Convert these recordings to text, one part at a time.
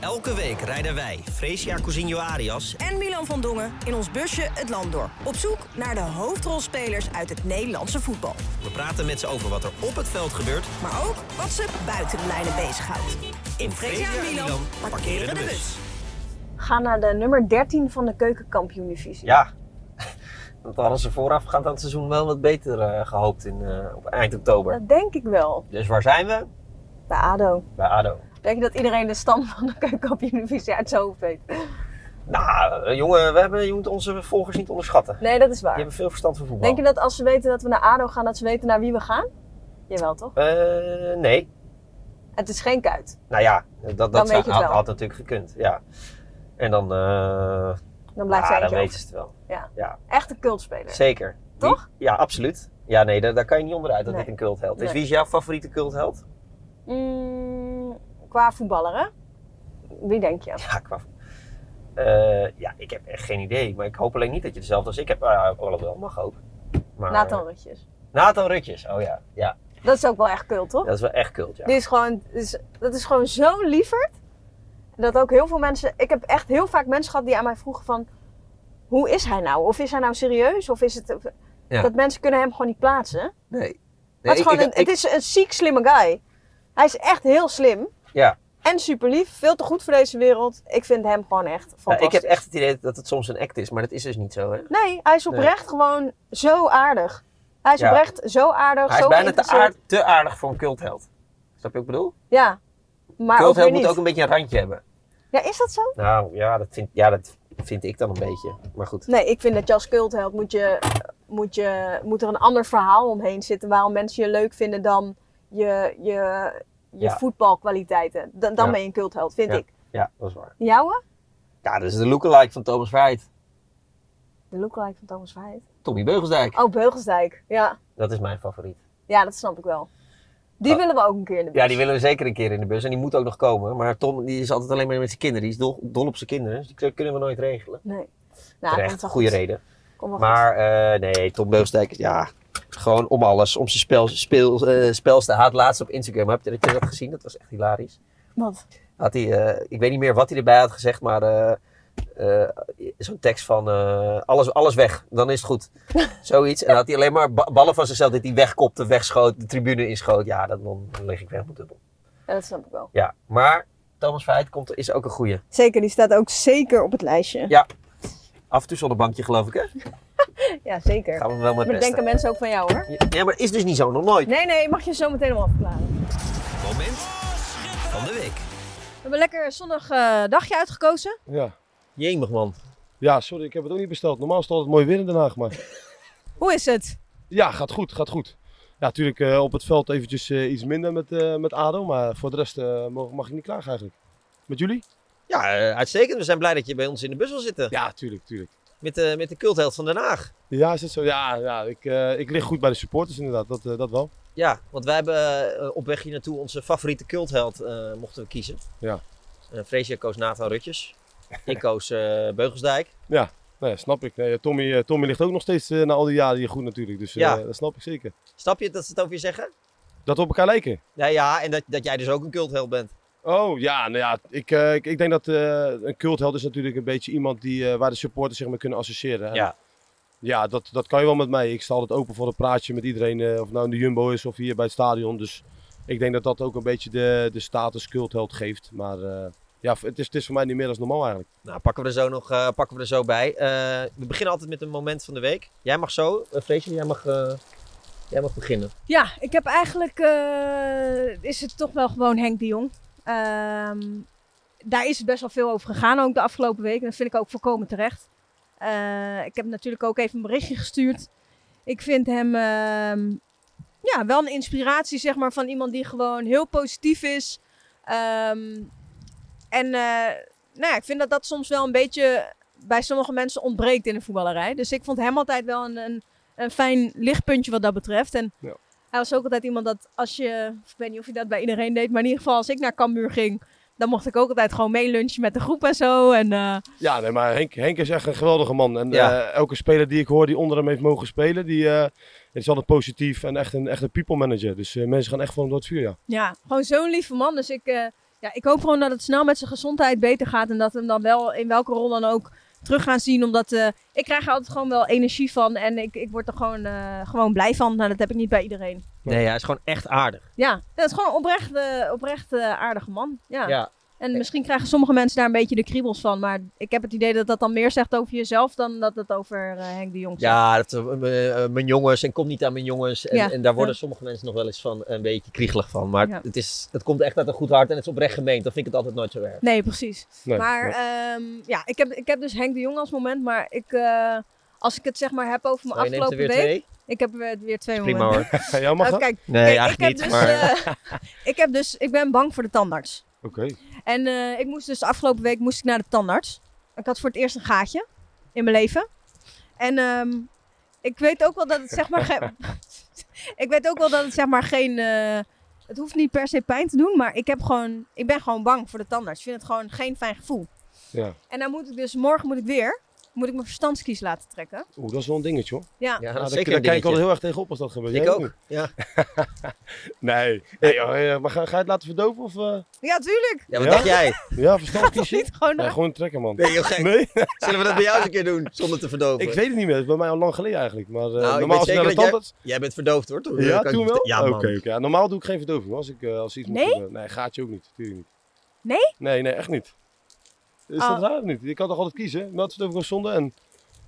Elke week rijden wij, Fresia Cousinho Arias... en Milan van Dongen in ons busje het land door. Op zoek naar de hoofdrolspelers uit het Nederlandse voetbal. We praten met ze over wat er op het veld gebeurt... Maar ook wat ze buiten de lijnen bezighoudt. In Fresia en Milan parkeren de bus. Ga naar de nummer 13 van de keukenkampioen-divisie. Ja, dat hadden ze voorafgaand aan het seizoen wel wat beter eh, gehoopt in, eh, op eind oktober. Dat denk ik wel. Dus waar zijn we? De ADO. Bij ADO. Denk je dat iedereen de stam van de keukenkampioen-divisie uit zijn hoofd weet? Nou, eh, jongen, we hebben, je moet onze volgers niet onderschatten. Nee, dat is Die waar. hebben veel verstand van voetbal. Denk je dat als ze weten dat we naar ADO gaan, dat ze weten naar wie we gaan? Jawel toch? Eh, nee. Het is geen kuit. Nou ja, dat, dat Dan weet zou- je het had, wel. had natuurlijk gekund. Ja. En dan, eh Dan ja, blijft zij dan eentje weten over. ze het wel. Echt een cultspeler. Zeker. Die- Toch? ja, absoluut. Ja, nee, daar, daar kan je niet onderuit dat Nee. dit een cultheld is. Nee. Wie is jouw favoriete cultheld? Mm, qua voetballer, hè? Wie denk je? Ja, qua... Eh, ja, ik heb echt geen idee. Maar ik hoop alleen niet dat je dezelfde als ik heb. Ah, alhoewel, mag ook. Maar, Nathan Rutjes. Nathan Rutjes, oh ja. ja. Dat is ook wel echt cult, toch? Dat is wel echt cult, ja. Die is gewoon, is, dat is gewoon zo'n lieverd. Dat ook heel veel mensen. Ik heb echt heel vaak mensen gehad die aan mij vroegen van. Hoe is hij nou? Of is hij nou serieus? Of is het. of- Ja. Dat mensen kunnen hem gewoon niet plaatsen. Nee. Maar nee het, is gewoon een, het is een ziek slimme guy. Hij is echt heel slim. Ja. En super lief. Veel te goed voor deze wereld. Ik vind hem gewoon echt Ja, fantastisch. ik heb echt het idee dat het soms een act is, maar dat is dus niet zo, hè? Nee, hij is oprecht gewoon zo aardig. Hij is Ja. oprecht zo aardig. Hij zo is bijna te, geïnteresseerd. aard- te aardig voor een cultheld. Snap je wat ik bedoel? Ja. Maar ook weer Cultheld niet. moet ook een beetje een randje hebben. Ja, is dat zo? Nou, ja dat, vind, ja, dat vind ik dan een beetje. Maar goed. Nee, ik vind dat je als cultheld moet, je, moet, je, moet er een ander verhaal omheen zitten waarom mensen je leuk vinden dan je, je, je Ja. voetbalkwaliteiten. Dan, dan Ja. ben je een cultheld, vind ik. Ja, dat is waar. Jouwe? Ja, dat is de lookalike van Thomas Verheid. De lookalike van Thomas Verheid. Tommy Beugelsdijk. Oh, Beugelsdijk. Ja. Dat is mijn favoriet. ja, dat snap ik wel. Die Oh. willen we ook een keer in de bus. Ja, die willen we zeker een keer in de bus. En die moet ook nog komen. Maar Tom die is altijd alleen maar met zijn kinderen. Die is dol, dol op zijn kinderen. Dus die kunnen we nooit regelen. Nee. Nou, komt Terecht, wel goede goed. reden. Komt wel goed. Maar eh, nee, Tom Beugelsdijk is ja, gewoon om alles. Om zijn spel, speel, eh, spels te haat laatst op Instagram. Heb je, heb je dat gezien? Dat was echt hilarisch. Wat? Had hij, eh, ik weet niet meer wat hij erbij had gezegd, maar eh, eh, zo'n tekst van eh, alles, alles weg, dan is het goed. Zoiets. En dan had hij alleen maar ba- ballen van zichzelf dat hij wegkopte, wegschoot, de tribune inschoot. Ja, dat, dan lig ik weg met dubbel. Ja, dat snap ik wel. Ja, maar Thomas Verheid komt, is ook een goeie. Zeker, die staat ook zeker op het lijstje. Af en toe zonnebankje geloof ik hè? Ja, zeker. Gaan we hem wel met Maar testen. dat denken mensen ook van jou hoor. Ja, maar het is dus niet zo, nog nooit. Nee, nee, mag je zo meteen wel afklaren. Moment van de week. We hebben lekker een zonnig eh, dagje uitgekozen. Ja. Jemig man. ja, sorry, ik heb het ook niet besteld. Normaal is het altijd mooi weer in Den Haag, maar Hoe is het? ja, gaat goed, gaat goed. Ja, natuurlijk eh, op het veld eventjes eh, iets minder met, eh, met ADO, maar voor de rest eh, mag, mag ik niet klagen eigenlijk. Met jullie? Ja, eh, uitstekend. We zijn blij dat je bij ons in de bus wil zitten. Ja, tuurlijk, tuurlijk. Met, de met de cultheld van Den Haag. Ja, is dat zo? Ja, ja ik, eh, ik lig goed bij de supporters inderdaad, dat, eh, dat wel. Ja, want wij hebben eh, op weg hier naartoe onze favoriete cultheld eh, mochten we kiezen. Ja. Eh, Freesia koos Nathan Rutjes. Ik koos eh, Beugelsdijk. Nou ja, snap ik. Nee, Tommy, eh, Tommy ligt ook nog steeds eh, na al die jaren hier goed natuurlijk, dus eh, Ja. dat snap ik zeker. Snap je dat ze het over je zeggen? Dat we op elkaar lijken. Ja, ja en dat, dat jij dus ook een cultheld bent. Oh ja, nou ja, ik, eh, ik, ik denk dat eh, een cultheld is natuurlijk een beetje iemand die, eh, waar de supporters zich mee kunnen associëren. En Ja. Ja, dat, dat kan je wel met mij. Ik sta altijd open voor een praatje met iedereen, eh, of het nou in de Jumbo is of hier bij het stadion. Dus ik denk dat dat ook een beetje de, de status cultheld geeft. Maar eh, ja, het is, het is voor mij niet meer dan normaal eigenlijk. Nou, pakken we er zo, nog, eh, pakken we er zo bij. Eh, we beginnen altijd met een moment van de week. Jij mag zo, eh Freesia, jij mag, eh, jij mag beginnen. Ja, ik heb eigenlijk. eh, is het toch wel gewoon Henk de Jong. Ehm, daar is het best wel veel over gegaan, ook de afgelopen week. En dat vind ik ook volkomen terecht. Eh, ik heb natuurlijk ook even een berichtje gestuurd. Ik vind hem ehm, ja, wel een inspiratie, zeg maar, van iemand die gewoon heel positief is. Ehm, en eh, nou ja, ik vind dat dat soms wel een beetje bij sommige mensen ontbreekt in de voetballerij. Dus ik vond hem altijd wel een, een, een fijn lichtpuntje wat dat betreft. En hij was ook altijd iemand dat als je, ik weet niet of je dat bij iedereen deed, maar in ieder geval als ik naar Cambuur ging, dan mocht ik ook altijd gewoon meelunchen met de groep en zo. En eh, Ja, nee, maar Henk, Henk is echt een geweldige man. En Ja. eh, elke speler die ik hoor die onder hem heeft mogen spelen, die eh, is altijd positief en echt een, echt een people manager. Dus eh, mensen gaan echt van hem door het vuur, ja. ja, gewoon zo'n lieve man. Dus ik, eh, ja, ik hoop gewoon dat het snel met zijn gezondheid beter gaat. En dat we hem dan wel in welke rol dan ook terug gaan zien. Omdat eh, ik krijg er altijd gewoon wel energie van. En ik, ik word er gewoon, eh, gewoon blij van. Nou, dat heb ik niet bij iedereen. Nee, hij is gewoon echt aardig. Ja, dat is gewoon een oprecht, eh, oprecht eh, aardige man. Ja. Ja. En misschien krijgen sommige mensen daar een beetje de kriebels van. Maar ik heb het idee dat dat dan meer zegt over jezelf dan dat het over eh, Henk de Jong zegt. Ja, dat, eh, eh, mijn jongens en kom niet aan mijn jongens. En, Ja. en daar worden Ja. sommige mensen nog wel eens van een beetje kriegelig van. Maar Ja. het, is, het komt echt uit een goed hart en het is oprecht gemeend. Dan vind ik het altijd nooit zo erg. Nee, precies. Nee, maar nee. ehm, ja, ik heb, ik heb dus Henk de Jong als moment. Maar ik, eh, als ik het zeg maar heb over mijn Oh, je neemt er afgelopen weer week. twee? Ik heb er weer twee Prima momenten. hoor. Ja, mag Oh, dat? kijk, Nee, kijk, eigenlijk ik heb niet. dus, maar eh, ik heb dus, ik ben bang voor de tandarts. Oké. En eh, ik moest dus afgelopen week moest ik naar de tandarts. Ik had voor het eerst een gaatje in mijn leven. En ehm, ik weet ook wel dat het zeg maar. ge- ik weet ook wel dat het zeg maar geen. eh, het hoeft niet per se pijn te doen, maar ik, heb gewoon, ik ben gewoon bang voor de tandarts. Ik vind het gewoon geen fijn gevoel. Ja. En dan moet ik dus morgen moet ik weer moet ik mijn verstandskies laten trekken. Oeh, dat is wel een dingetje hoor. Ja. ja, Ja, dat is Ah, daar, zeker daar een kijk ik al dingetje. heel erg tegenop als dat gebeurt. Ik Jij ook. niet? Ja. Nee. Nee, joh, eh, maar ga, ga je het laten verdoven of... eh? Ja, tuurlijk. ja, wat Ja? dacht jij? Ja, verstand kiezen? Niet gewoon. Nee, gewoon trekken man. Nee, joh, gek. Nee? Zullen we dat bij jou eens een keer doen? Zonder te verdoven. Nou, Ik weet het niet meer. Dat is bij mij al lang geleden eigenlijk. Maar ik eh, weet normaal als zeker ik naar de dat jij- tandarts... Jij bent verdoofd hoor. Toen, Ja, kan ik toen je wel? vertellen. Ja, man. Oké, oké. Ja, normaal doe ik geen verdoving hoor, als, ik, eh, als iets moet Nee? gebeuren. Nee, gaatje ook niet. Tuurlijk niet. Nee? Nee, nee, echt niet. Is Oh. dat raar of niet? Je kan toch altijd kiezen? Meldverdoving of zonde? En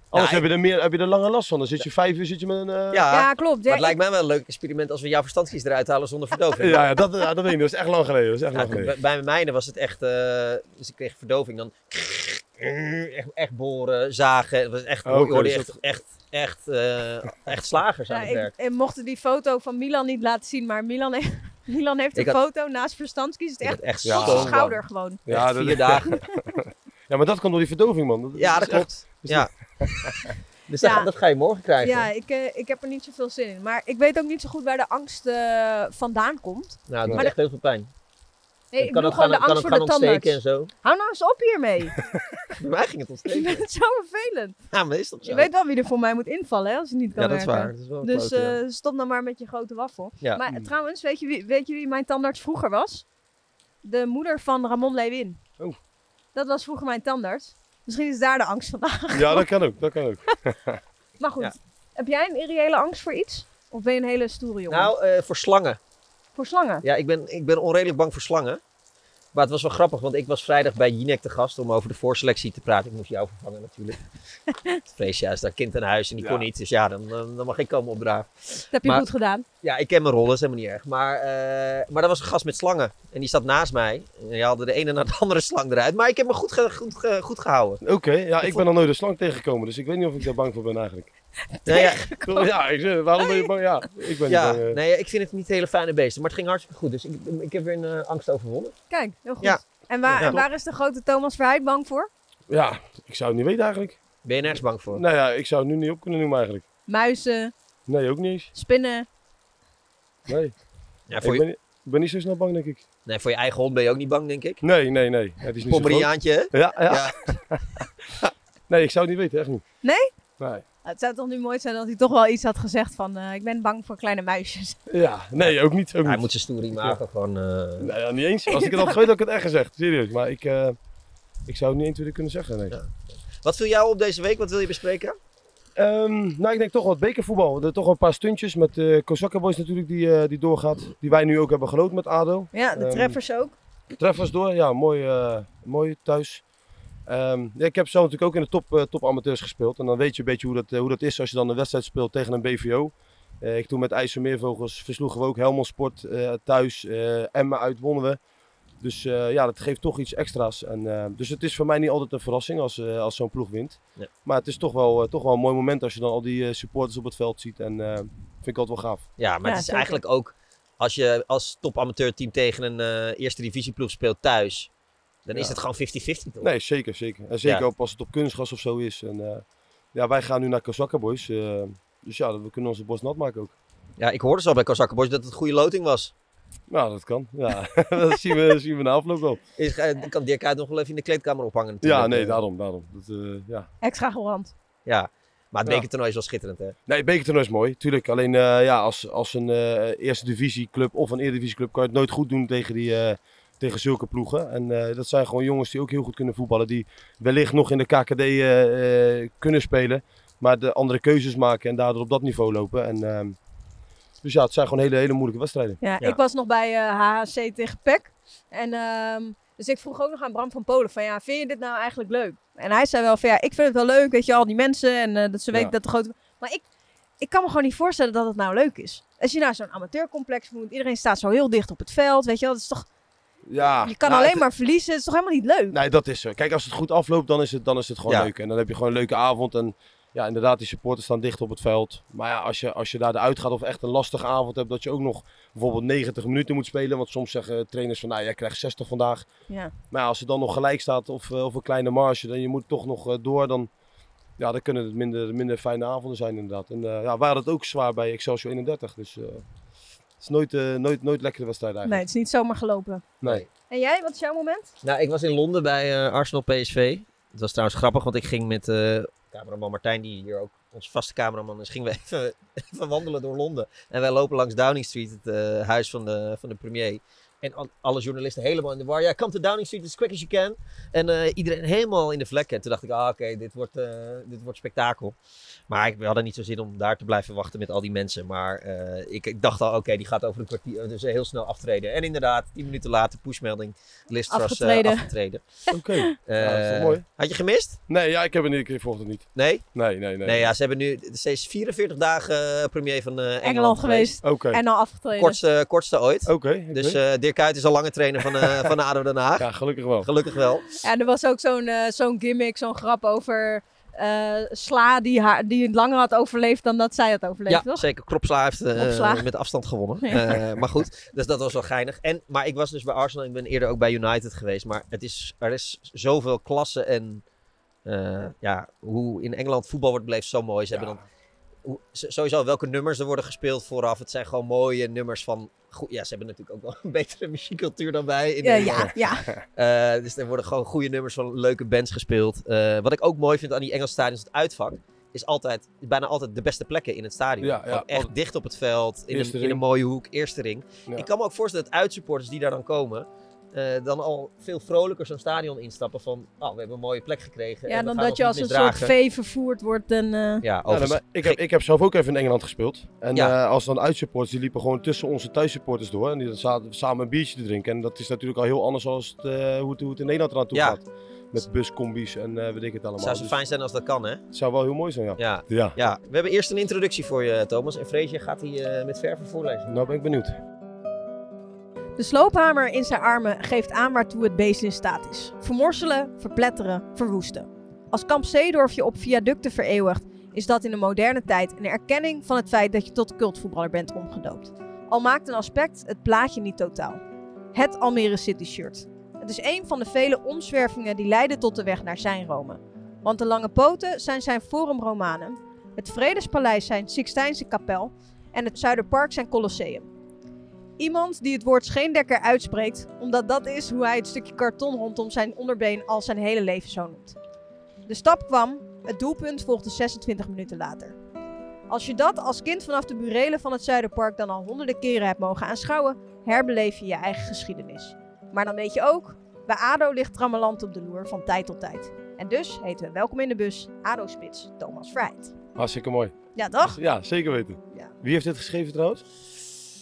anders ik- heb, je er meer, heb je er langer last van. Dan zit je vijf uur zit je met een... eh, Ja, Ja, klopt. maar Ja, het lijkt mij wel een leuk experiment als we jouw verstandskies eruit halen zonder verdoving. Ja, ja, dat, ja, dat weet ik niet. Dat is echt lang geleden. Dat is echt Ja, lang bij- geleden. bij mijn mijne was het echt, eh, dus ik kreeg verdoving dan. Echt, echt boren, zagen. Het was echt, Oh, oké, je hoorde dus echt, echt, echt, eh, echt slagers aan Ja, het ik, werk. ik mocht die foto van Milan niet laten zien, maar Milan, he- Milan heeft Ik een had- foto naast verstandskies. Het Ik is echt werd echt Ja. op ja. zijn schouder gewoon. Ja, vier dat, dagen. ja, maar dat kan door die verdoving, man. Ja, is dat echt- klopt. Ja. Dus Ja. Dat, dat ga je morgen krijgen. Nou, Ja, ik, eh, ik heb er niet zoveel zin in. Maar ik weet ook niet zo goed waar de angst eh, vandaan komt. Nou, het doet Maar echt heel veel pijn. Nee, ik het kan bedoel ook gewoon gaan, de kan angst ook gaan voor de ontsteken en tandarts. zo. Hou nou eens op hiermee. Bij mij ging het Je ontsteken. bent zo vervelend. Ja, maar is dat zo? Je weet wel wie er voor mij moet invallen hè, als hij niet kan ja, dat is werken. waar. Dat is wel een Dus klote, ja. eh, stop nou maar met je grote waffel. Ja. Mm. Maar eh, trouwens, weet je, wie, weet je wie mijn tandarts vroeger was? De moeder van Ramon Lewin. Oh. Dat was vroeger mijn tandarts. Misschien is daar de angst vandaan. Ja, dat kan ook. Dat kan ook. Maar goed, Ja. heb jij een irreële angst voor iets? Of ben je een hele stoere jongen? Nou, eh, voor slangen. voor slangen. Ja, ik ben, ik ben onredelijk bang voor slangen. Maar het was wel grappig, want ik was vrijdag bij Jinek te gast om over de voorselectie te praten. Ik moest jou vervangen natuurlijk. Het Freesia is daar kind aan huis en die Ja. kon niet. Dus ja, dan, dan dan mag ik komen opdraven. Dat heb je maar- goed gedaan. Ja, ik ken mijn rol, dat is helemaal niet erg. Maar, eh, maar er was een gast met slangen en die zat naast mij. En die haalde de ene na de andere slang eruit. Maar ik heb me goed, ge- goed, ge- goed gehouden. Oké, ja, ik ben al nooit een slang tegengekomen, dus ik weet niet of ik daar bang voor ben eigenlijk. Nou ja, Ja, ik, zeg, waarom ben je bang? Ja, ik ben ja, niet bang. eh. nee, ik vind het niet hele fijne beesten. Maar het ging hartstikke goed. Dus ik, ik heb weer een eh, angst overwonnen. Kijk, heel goed. Ja. En waar, Ja. en waar is de grote Thomas Verheid bang voor? Ja, ik zou het niet weten eigenlijk. Ben je nergens bang voor? Nou ja, ik zou het nu niet op kunnen noemen eigenlijk. Muizen, Nee, ook niet eens. spinnen. Nee, Ja, voor, ik je, ben, ik ben niet zo snel bang, denk ik. nee, voor je eigen hond ben je ook niet bang, denk ik. Nee, nee, nee. Ja, Het is niet zo groot. Pomeriaantje, hè? Ja, ja. Ja. Nee, ik zou het niet weten, echt niet. Nee? Nee. Het zou toch nu mooi zijn dat hij toch wel iets had gezegd van... eh, ik ben bang voor kleine muisjes. Ja, nee, ook niet. Ook Hij niet. moet zijn stoere imago gewoon... eh, Nou ja, niet eens. Als ik het had geweten, had ik het echt gezegd. Serieus. Maar ik, eh, ik zou het niet eens willen kunnen zeggen, nee. Ja. Wat viel jou op deze week? Wat wil je bespreken? Ehm, nou, ik denk toch wat bekervoetbal. Er toch wel een paar stuntjes met de Kozakkenboys natuurlijk die, eh, die doorgaat. Die wij nu ook hebben geloot met ADO. Ja, de Ehm, treffers ook. Treffers door, ja, mooi, eh, mooi thuis. Ehm, ja, ik heb zo natuurlijk ook in de top, eh, top amateurs gespeeld. En dan weet je een beetje hoe dat, eh, hoe dat is als je dan een wedstrijd speelt tegen een BVO. Eh, ik toen met IJsselmeervogels versloegen we ook Helmond Sport eh, thuis. eh Emma uit wonnen we. Dus eh, ja, dat geeft toch iets extra's. En, eh, dus het is voor mij niet altijd een verrassing als, eh, als zo'n ploeg wint. Nee. Maar het is toch wel, eh, toch wel een mooi moment als je dan al die eh, supporters op het veld ziet. En eh, vind ik altijd wel gaaf. Ja, maar Ja, het is zeker. eigenlijk ook... Als je als topamateurteam tegen een eh, eerste divisieploeg speelt thuis... Dan is Ja. het gewoon 50-50 toch? Nee, zeker, zeker. En zeker Ja. ook als het op kunstgras of zo is. En, eh, ja, wij gaan nu naar Kazakka Boys. eh, dus ja, we kunnen onze bos nat maken ook. Ja, ik hoorde zo bij Kozakkenboys dat het goede loting was. Nou, dat kan. Ja, dat zien we, zien we na afloop wel. Is, eh, kan Dirk uit nog wel even in de kleedkamer ophangen natuurlijk. Ja, nee, Eh, daarom, daarom. Dat, eh, ja. Extra gewand. Ja, maar het Ja. bekertoernooi is wel schitterend hè? Nee, bekertoernooi is mooi. Tuurlijk, alleen eh, ja, als, als een eh, eerste divisieclub of een eerdivisieclub kan je het nooit goed doen tegen die, eh, tegen zulke ploegen. En eh, dat zijn gewoon jongens die ook heel goed kunnen voetballen. Die wellicht nog in de KKD eh, eh, kunnen spelen. Maar de andere keuzes maken en daardoor op dat niveau lopen. En, ehm, dus ja, het zijn gewoon hele, hele moeilijke wedstrijden. Ja, Ja. ik was nog bij eh, HHC tegen PEC. En ehm, dus ik vroeg ook nog aan Bram van Polen van ja, vind je dit nou eigenlijk leuk? En hij zei wel van ja, ik vind het wel leuk, weet je, al die mensen en eh, dat ze weten Ja. dat de grote... Maar ik, ik kan me gewoon niet voorstellen dat het nou leuk is. Als je naar zo'n amateurcomplex moet, iedereen staat zo heel dicht op het veld, weet je wel. Dat is toch, Ja, je nou, kan alleen maar verliezen, het is toch helemaal niet leuk? Nee, dat is zo. Kijk, als het goed afloopt, dan is het, dan is het gewoon Ja. leuk. En dan heb je gewoon een leuke avond. En ja, inderdaad, die supporters staan dicht op het veld. Maar ja, als je, als je daar de uitgaat of echt een lastige avond hebt, dat je ook nog bijvoorbeeld 90 minuten moet spelen. Want soms zeggen trainers van, nou, jij krijgt 60 vandaag. Ja. Maar ja, als het dan nog gelijk staat of, eh, of een kleine marge, dan je moet toch nog eh, door, dan, ja, dan kunnen het minder, minder fijne avonden zijn inderdaad. En eh ja, we hadden het ook zwaar bij Excelsior 31. Dus eh, het is nooit, eh, nooit, nooit lekkere wedstrijd Nee, eigenlijk. het is niet zomaar gelopen. Nee. En jij, wat is jouw moment? Nou, ik was in Londen bij eh, Arsenal PSV. Het was trouwens grappig, want ik ging met eh, cameraman Martijn, die hier ook onze vaste cameraman is, gingen we even, even wandelen door Londen. En wij lopen langs Downing Street, het eh, huis van de, van de premier. En al- alle journalisten helemaal in de war. Ja, come to Downing Street as quick as you can. En eh, iedereen helemaal in de vlekken. En toen dacht ik, ah, oké, dit, wordt, eh, dit wordt spektakel. Maar ik, we hadden niet zo zin om daar te blijven wachten met al die mensen. Maar eh, ik, ik dacht al, oké, die gaat over een kwartier. Dus heel snel aftreden. En inderdaad, tien minuten later, pushmelding. List was eh, Afgetreden. afgetreden. Oké. Ja, dat is toch Eh, mooi? Had je gemist? Nee, ja, ik heb het niet. Ik volg het niet. Nee? Nee, nee, nee. Nee, ja, ze hebben nu steeds 44 dagen eh, premier van eh, Engeland, Engeland geweest Oké. en dan afgetreden. Kortste, eh, kortste ooit. Oké. oké. Dus eh Dirk Kuyt is al lange trainer van, eh, van ADO Den Haag. ja, gelukkig wel. Gelukkig wel. En er was ook zo'n eh, zo'n gimmick, zo'n grap over eh, Sla die, haar, die het langer had overleefd dan dat zij had overleefd, ja, toch? zeker. Kropsla heeft eh, Kropsla. met afstand gewonnen. Ja. Eh, maar goed, dus dat was wel geinig. En, maar ik was dus bij Arsenal en ik ben eerder ook bij United geweest. Maar het is, er is zoveel klasse en eh, ja, hoe in Engeland voetbal wordt beleefd zo mooi. Ze hebben dan hoe- s- sowieso welke nummers er worden gespeeld vooraf. Het zijn gewoon mooie nummers van... Goed, ja, ze hebben natuurlijk ook wel een betere muziekcultuur dan wij. In Ja, Nederland. ja, ja. Eh, dus er worden gewoon goede nummers van leuke bands gespeeld. Eh, wat ik ook mooi vind aan die Engelse stadions, het uitvak, is altijd, bijna altijd de beste plekken in het stadion. Ja, ja. Gewoon echt dicht op het veld, in Eerste een, in een ring. mooie hoek, eerste ring. Ja. Ik kan me ook voorstellen dat uitsupporters die daar dan komen, eh, dan al veel vrolijker zo'n stadion instappen van, oh, we hebben een mooie plek gekregen. ja en we dan gaan dat je ons als niet een soort misdragen. vee vervoerd wordt. En, eh, Ja, Ja, overigens. Nou, nee, maar ik, heb, ik heb zelf ook even in Engeland gespeeld. En Ja. eh, als dan uitsupporters, die liepen gewoon tussen onze thuissupporters door. En die zaten samen een biertje te drinken. En dat is natuurlijk al heel anders dan hoe, het, hoe het in Nederland eraan toe Ja. gaat. Met buscombies en eh weet ik het allemaal. zou zo Dus fijn zijn als dat kan, hè? Het zou wel heel mooi zijn, ja. Ja. Ja, ja. We hebben eerst een introductie voor je, Thomas. En Freesje gaat die eh, met verven voorlezen. nou ben ik benieuwd. De sloophamer in zijn armen geeft aan waartoe het beest in staat is. Vermorselen, verpletteren, verwoesten. Als kamp Zeedorf je op viaducten vereeuwigt, is dat in de moderne tijd een erkenning van het feit dat je tot cultvoetballer bent omgedoopt. Al maakt een aspect het plaatje niet totaal. Het Almere City shirt. Het is een van de vele omzwervingen die leiden tot de weg naar zijn Rome. Want de lange poten zijn zijn Forum Romanum, het Vredespaleis zijn Sixtijnse kapel en het Zuiderpark zijn Colosseum. Iemand die het woord scheendekker uitspreekt, omdat dat is hoe hij het stukje karton rondom zijn onderbeen al zijn hele leven zo noemt. De stap kwam, het doelpunt volgde 26 minuten later. Als je dat als kind vanaf de burelen van het Zuiderpark dan al honderden keren hebt mogen aanschouwen, herbeleef je je eigen geschiedenis. Maar dan weet je ook, bij ADO ligt Trammeland op de loer van tijd tot tijd. En dus heten we welkom in de bus ADO-spits Thomas Vrijt. Hartstikke mooi. Ja, toch? Ja, zeker weten. Ja. Wie heeft dit geschreven trouwens?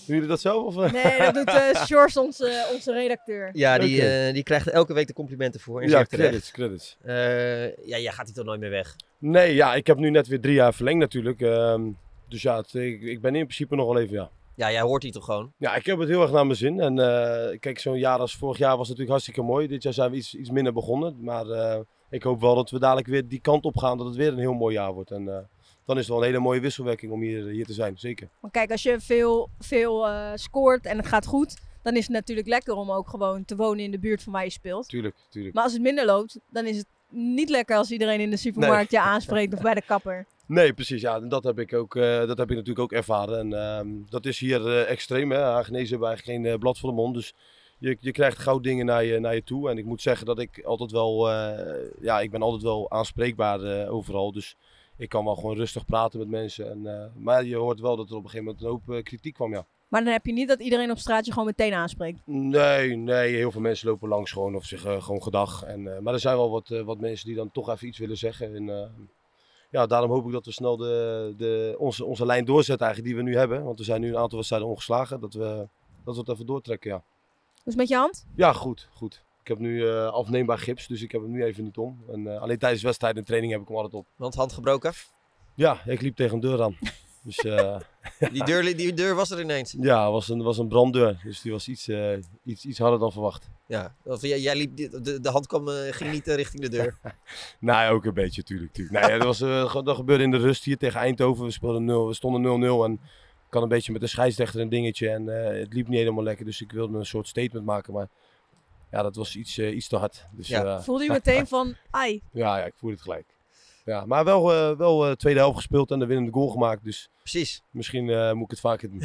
Doen jullie dat zelf? Of, eh? Nee, dat doet eh Sjors, onze, onze redacteur. Ja, die, Oké. eh, die krijgt elke week de complimenten voor. En Ja, zeer terecht. credits, credits. Eh, ja, jij gaat hier toch nooit meer weg. Nee, ja, ik heb nu net weer drie jaar verlengd natuurlijk. Ehm, dus ja, het- ik, ik ben in principe nog wel even, ja. Ja, jij hoort hier toch gewoon. Ja, ik heb het heel erg naar mijn zin. En eh, kijk, zo'n jaar als vorig jaar was natuurlijk hartstikke mooi. Dit jaar zijn we iets, iets minder begonnen. Maar eh, ik hoop wel dat we dadelijk weer die kant op gaan, dat het weer een heel mooi jaar wordt. En eh, dan is het wel een hele mooie wisselwerking om hier, hier te zijn, zeker. Want kijk, als je veel, veel eh, scoort en het gaat goed, dan is het natuurlijk lekker om ook gewoon te wonen in de buurt van waar je speelt. Tuurlijk, tuurlijk. Maar als het minder loopt, dan is het niet lekker als iedereen in de supermarkt je aanspreekt of bij de kapper. Nee, precies. Ja, en dat heb ik, ook, eh, dat heb ik natuurlijk ook ervaren. En ehm, dat is hier eh, extreem. Hè. Hagenezen hebben eigenlijk geen eh, blad voor de mond. Dus je, je krijgt gauw dingen naar je, naar je toe. En ik moet zeggen dat ik altijd wel... eh, ja, ik ben altijd wel aanspreekbaar eh, overal. Dus ik kan wel gewoon rustig praten met mensen. En, eh, maar je hoort wel dat er op een gegeven moment een hoop eh, kritiek kwam, ja. Maar dan heb je niet dat iedereen op straat je gewoon meteen aanspreekt. Nee, nee, heel veel mensen lopen langs gewoon of zeggen eh, gewoon gedag. En, eh, maar er zijn wel wat, eh, wat mensen die dan toch even iets willen zeggen. En, eh, ja, daarom hoop ik dat we snel de, de, onze, onze lijn doorzetten eigenlijk die we nu hebben. Want we zijn nu een aantal wedstrijden ongeslagen. Dat we, dat we het even doortrekken, ja. Hoe is het met je hand? Ja, goed, goed. Ik heb nu eh, afneembaar gips, dus ik heb hem nu even niet om. En, eh, alleen tijdens wedstrijden en training heb ik hem altijd op. Want hand gebroken. Ja, ik liep tegen een deur aan. Dus eh, Die deur, li- die deur was er ineens. ja, het was een, was een branddeur. Dus die was iets, eh, iets, iets harder dan verwacht. Ja, want jij, jij liep, di- de, de hand kwam, eh, ging niet eh, richting de deur. Nee, ook een beetje, tuurlijk. tuurlijk. Nee, dat, was, eh, ge- dat gebeurde in de rust hier tegen Eindhoven. We, speelden 0, we stonden 0-0 en ik had een beetje met de scheidsrechter een dingetje. En eh, het liep niet helemaal lekker, dus ik wilde een soort statement maken. Maar ja, dat was iets, eh, iets te hard. Dus Ja. ja. Voelde je meteen van, ai, ja, ja, ik voelde het gelijk. Ja, maar wel, eh, wel eh, tweede helft gespeeld en de winnende goal gemaakt. Dus Precies. misschien eh, moet ik het vaker doen.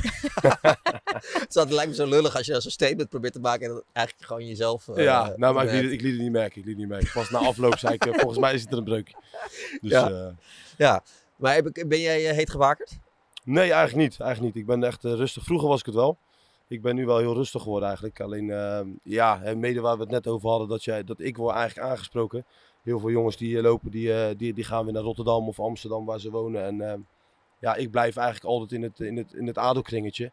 Het zat- lijkt me zo lullig als je dan zo'n statement probeert te maken en dan eigenlijk gewoon jezelf. eh, ja, nou, maar ik liet, opmerkt. het, ik liet het niet merken. Ik liet het niet merken. Pas na afloop zei ik, eh, volgens mij is het er een breukje. Dus Ja. eh, ja. Maar heb ik, ben jij eh, heet gewakerd? Nee, eigenlijk niet. Eigenlijk niet. Ik ben echt eh, rustig. Vroeger was ik het wel. Ik ben nu wel heel rustig geworden eigenlijk. Alleen, eh, ja, hè, mede waar we het net over hadden, dat, jij, dat ik word eigenlijk aangesproken. Heel veel jongens die hier lopen, die, eh, die, die gaan weer naar Rotterdam of Amsterdam waar ze wonen. En eh, ja, ik blijf eigenlijk altijd in het, in het, in het adelkringetje.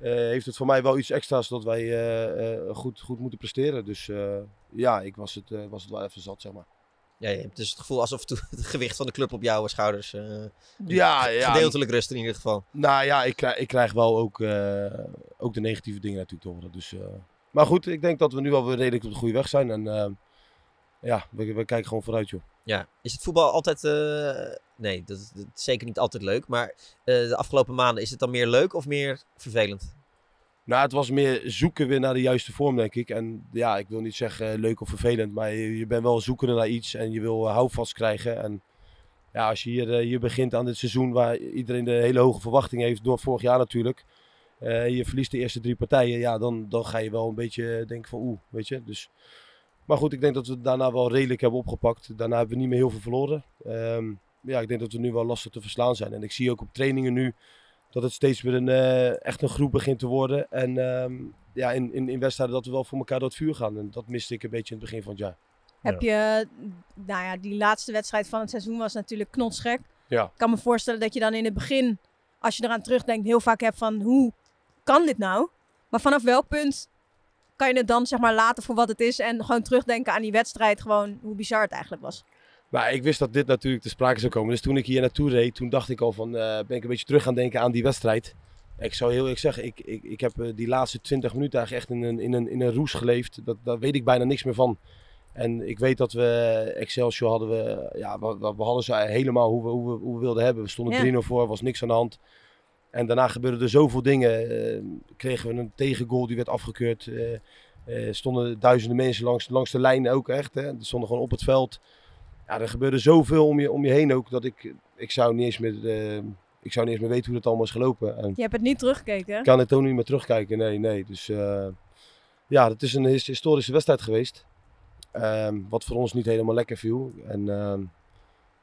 Eh, heeft het voor mij wel iets extra's dat wij eh, eh, goed, goed moeten presteren. Dus eh, ja, ik was het, eh, was het wel even zat, zeg maar. Ja, je hebt dus het gevoel alsof toe- het gewicht van de club op jouw schouders. eh, Ja, ja. Gedeeltelijk rust in ieder geval. Nou ja, ik krijg, ik krijg wel ook, eh, ook de negatieve dingen natuurlijk te horen. Dus, eh, maar goed, ik denk dat we nu al weer redelijk op de goede weg zijn. En eh, ja, we, we kijken gewoon vooruit, joh. Ja. Is het voetbal altijd. eh, nee, dat, is- dat is zeker niet altijd leuk. Maar eh, de afgelopen maanden is het dan meer leuk of meer vervelend? Nou, het was meer zoeken weer naar de juiste vorm, denk ik. En ja, ik wil niet zeggen eh, leuk of vervelend, maar je, je bent wel zoekende naar iets en je wil eh, houvast krijgen. En ja, als je hier, eh, hier begint aan dit seizoen waar iedereen de hele hoge verwachting heeft, door vorig jaar natuurlijk. eh, je verliest de eerste drie partijen, ja, dan, dan ga je wel een beetje denken van oeh, weet je. Dus, maar goed, ik denk dat we het daarna wel redelijk hebben opgepakt. Daarna hebben we niet meer heel veel verloren. Ehm, ja, ik denk dat we nu wel lastig te verslaan zijn. En ik zie ook op trainingen nu dat het steeds weer een, eh, echt een groep begint te worden. En ehm, ja, in, in, in wedstrijden dat we wel voor elkaar door het vuur gaan. En dat miste ik een beetje in het begin van het jaar. heb je... Nou ja, die laatste wedstrijd van het seizoen was natuurlijk knotsgek. Ja. Ik kan me voorstellen dat je dan in het begin, als je eraan terugdenkt, heel vaak hebt van, hoe kan dit nou? Maar vanaf welk punt kan je het dan zeg maar laten voor wat het is en gewoon terugdenken aan die wedstrijd, gewoon hoe bizar het eigenlijk was? Maar ik wist dat dit natuurlijk te sprake zou komen. Dus toen ik hier naartoe reed, toen dacht ik al van, eh, ben ik een beetje terug gaan denken aan die wedstrijd. Ik zou heel eerlijk zeggen, ik, ik, ik heb eh, die laatste 20 minuten eigenlijk echt in een, in een, in een roes geleefd. Dat, daar weet ik bijna niks meer van. En ik weet dat we eh, Excelsior hadden we, eh, ja, we, we- we hadden ze helemaal hoe we, hoe we, hoe we wilden hebben. We Ja. stonden 3-0 voor, was niks aan de hand. En daarna gebeurden er zoveel dingen. Eh, kregen we een tegengoal, die werd afgekeurd. Eh, eh, stonden duizenden mensen langs, langs de lijn ook echt. Hè. Die stonden gewoon op het veld. Ja, er gebeurde zoveel om je, om je heen ook, dat ik, ik, zou niet eens meer, eh, ik zou niet eens meer weten hoe dat allemaal is gelopen. En Je hebt het niet teruggekeken. hè? ik kan het ook niet meer terugkijken. Nee, nee. Dus eh, ja, het is een his- historische wedstrijd geweest. Ehm, wat voor ons niet helemaal lekker viel. En ehm,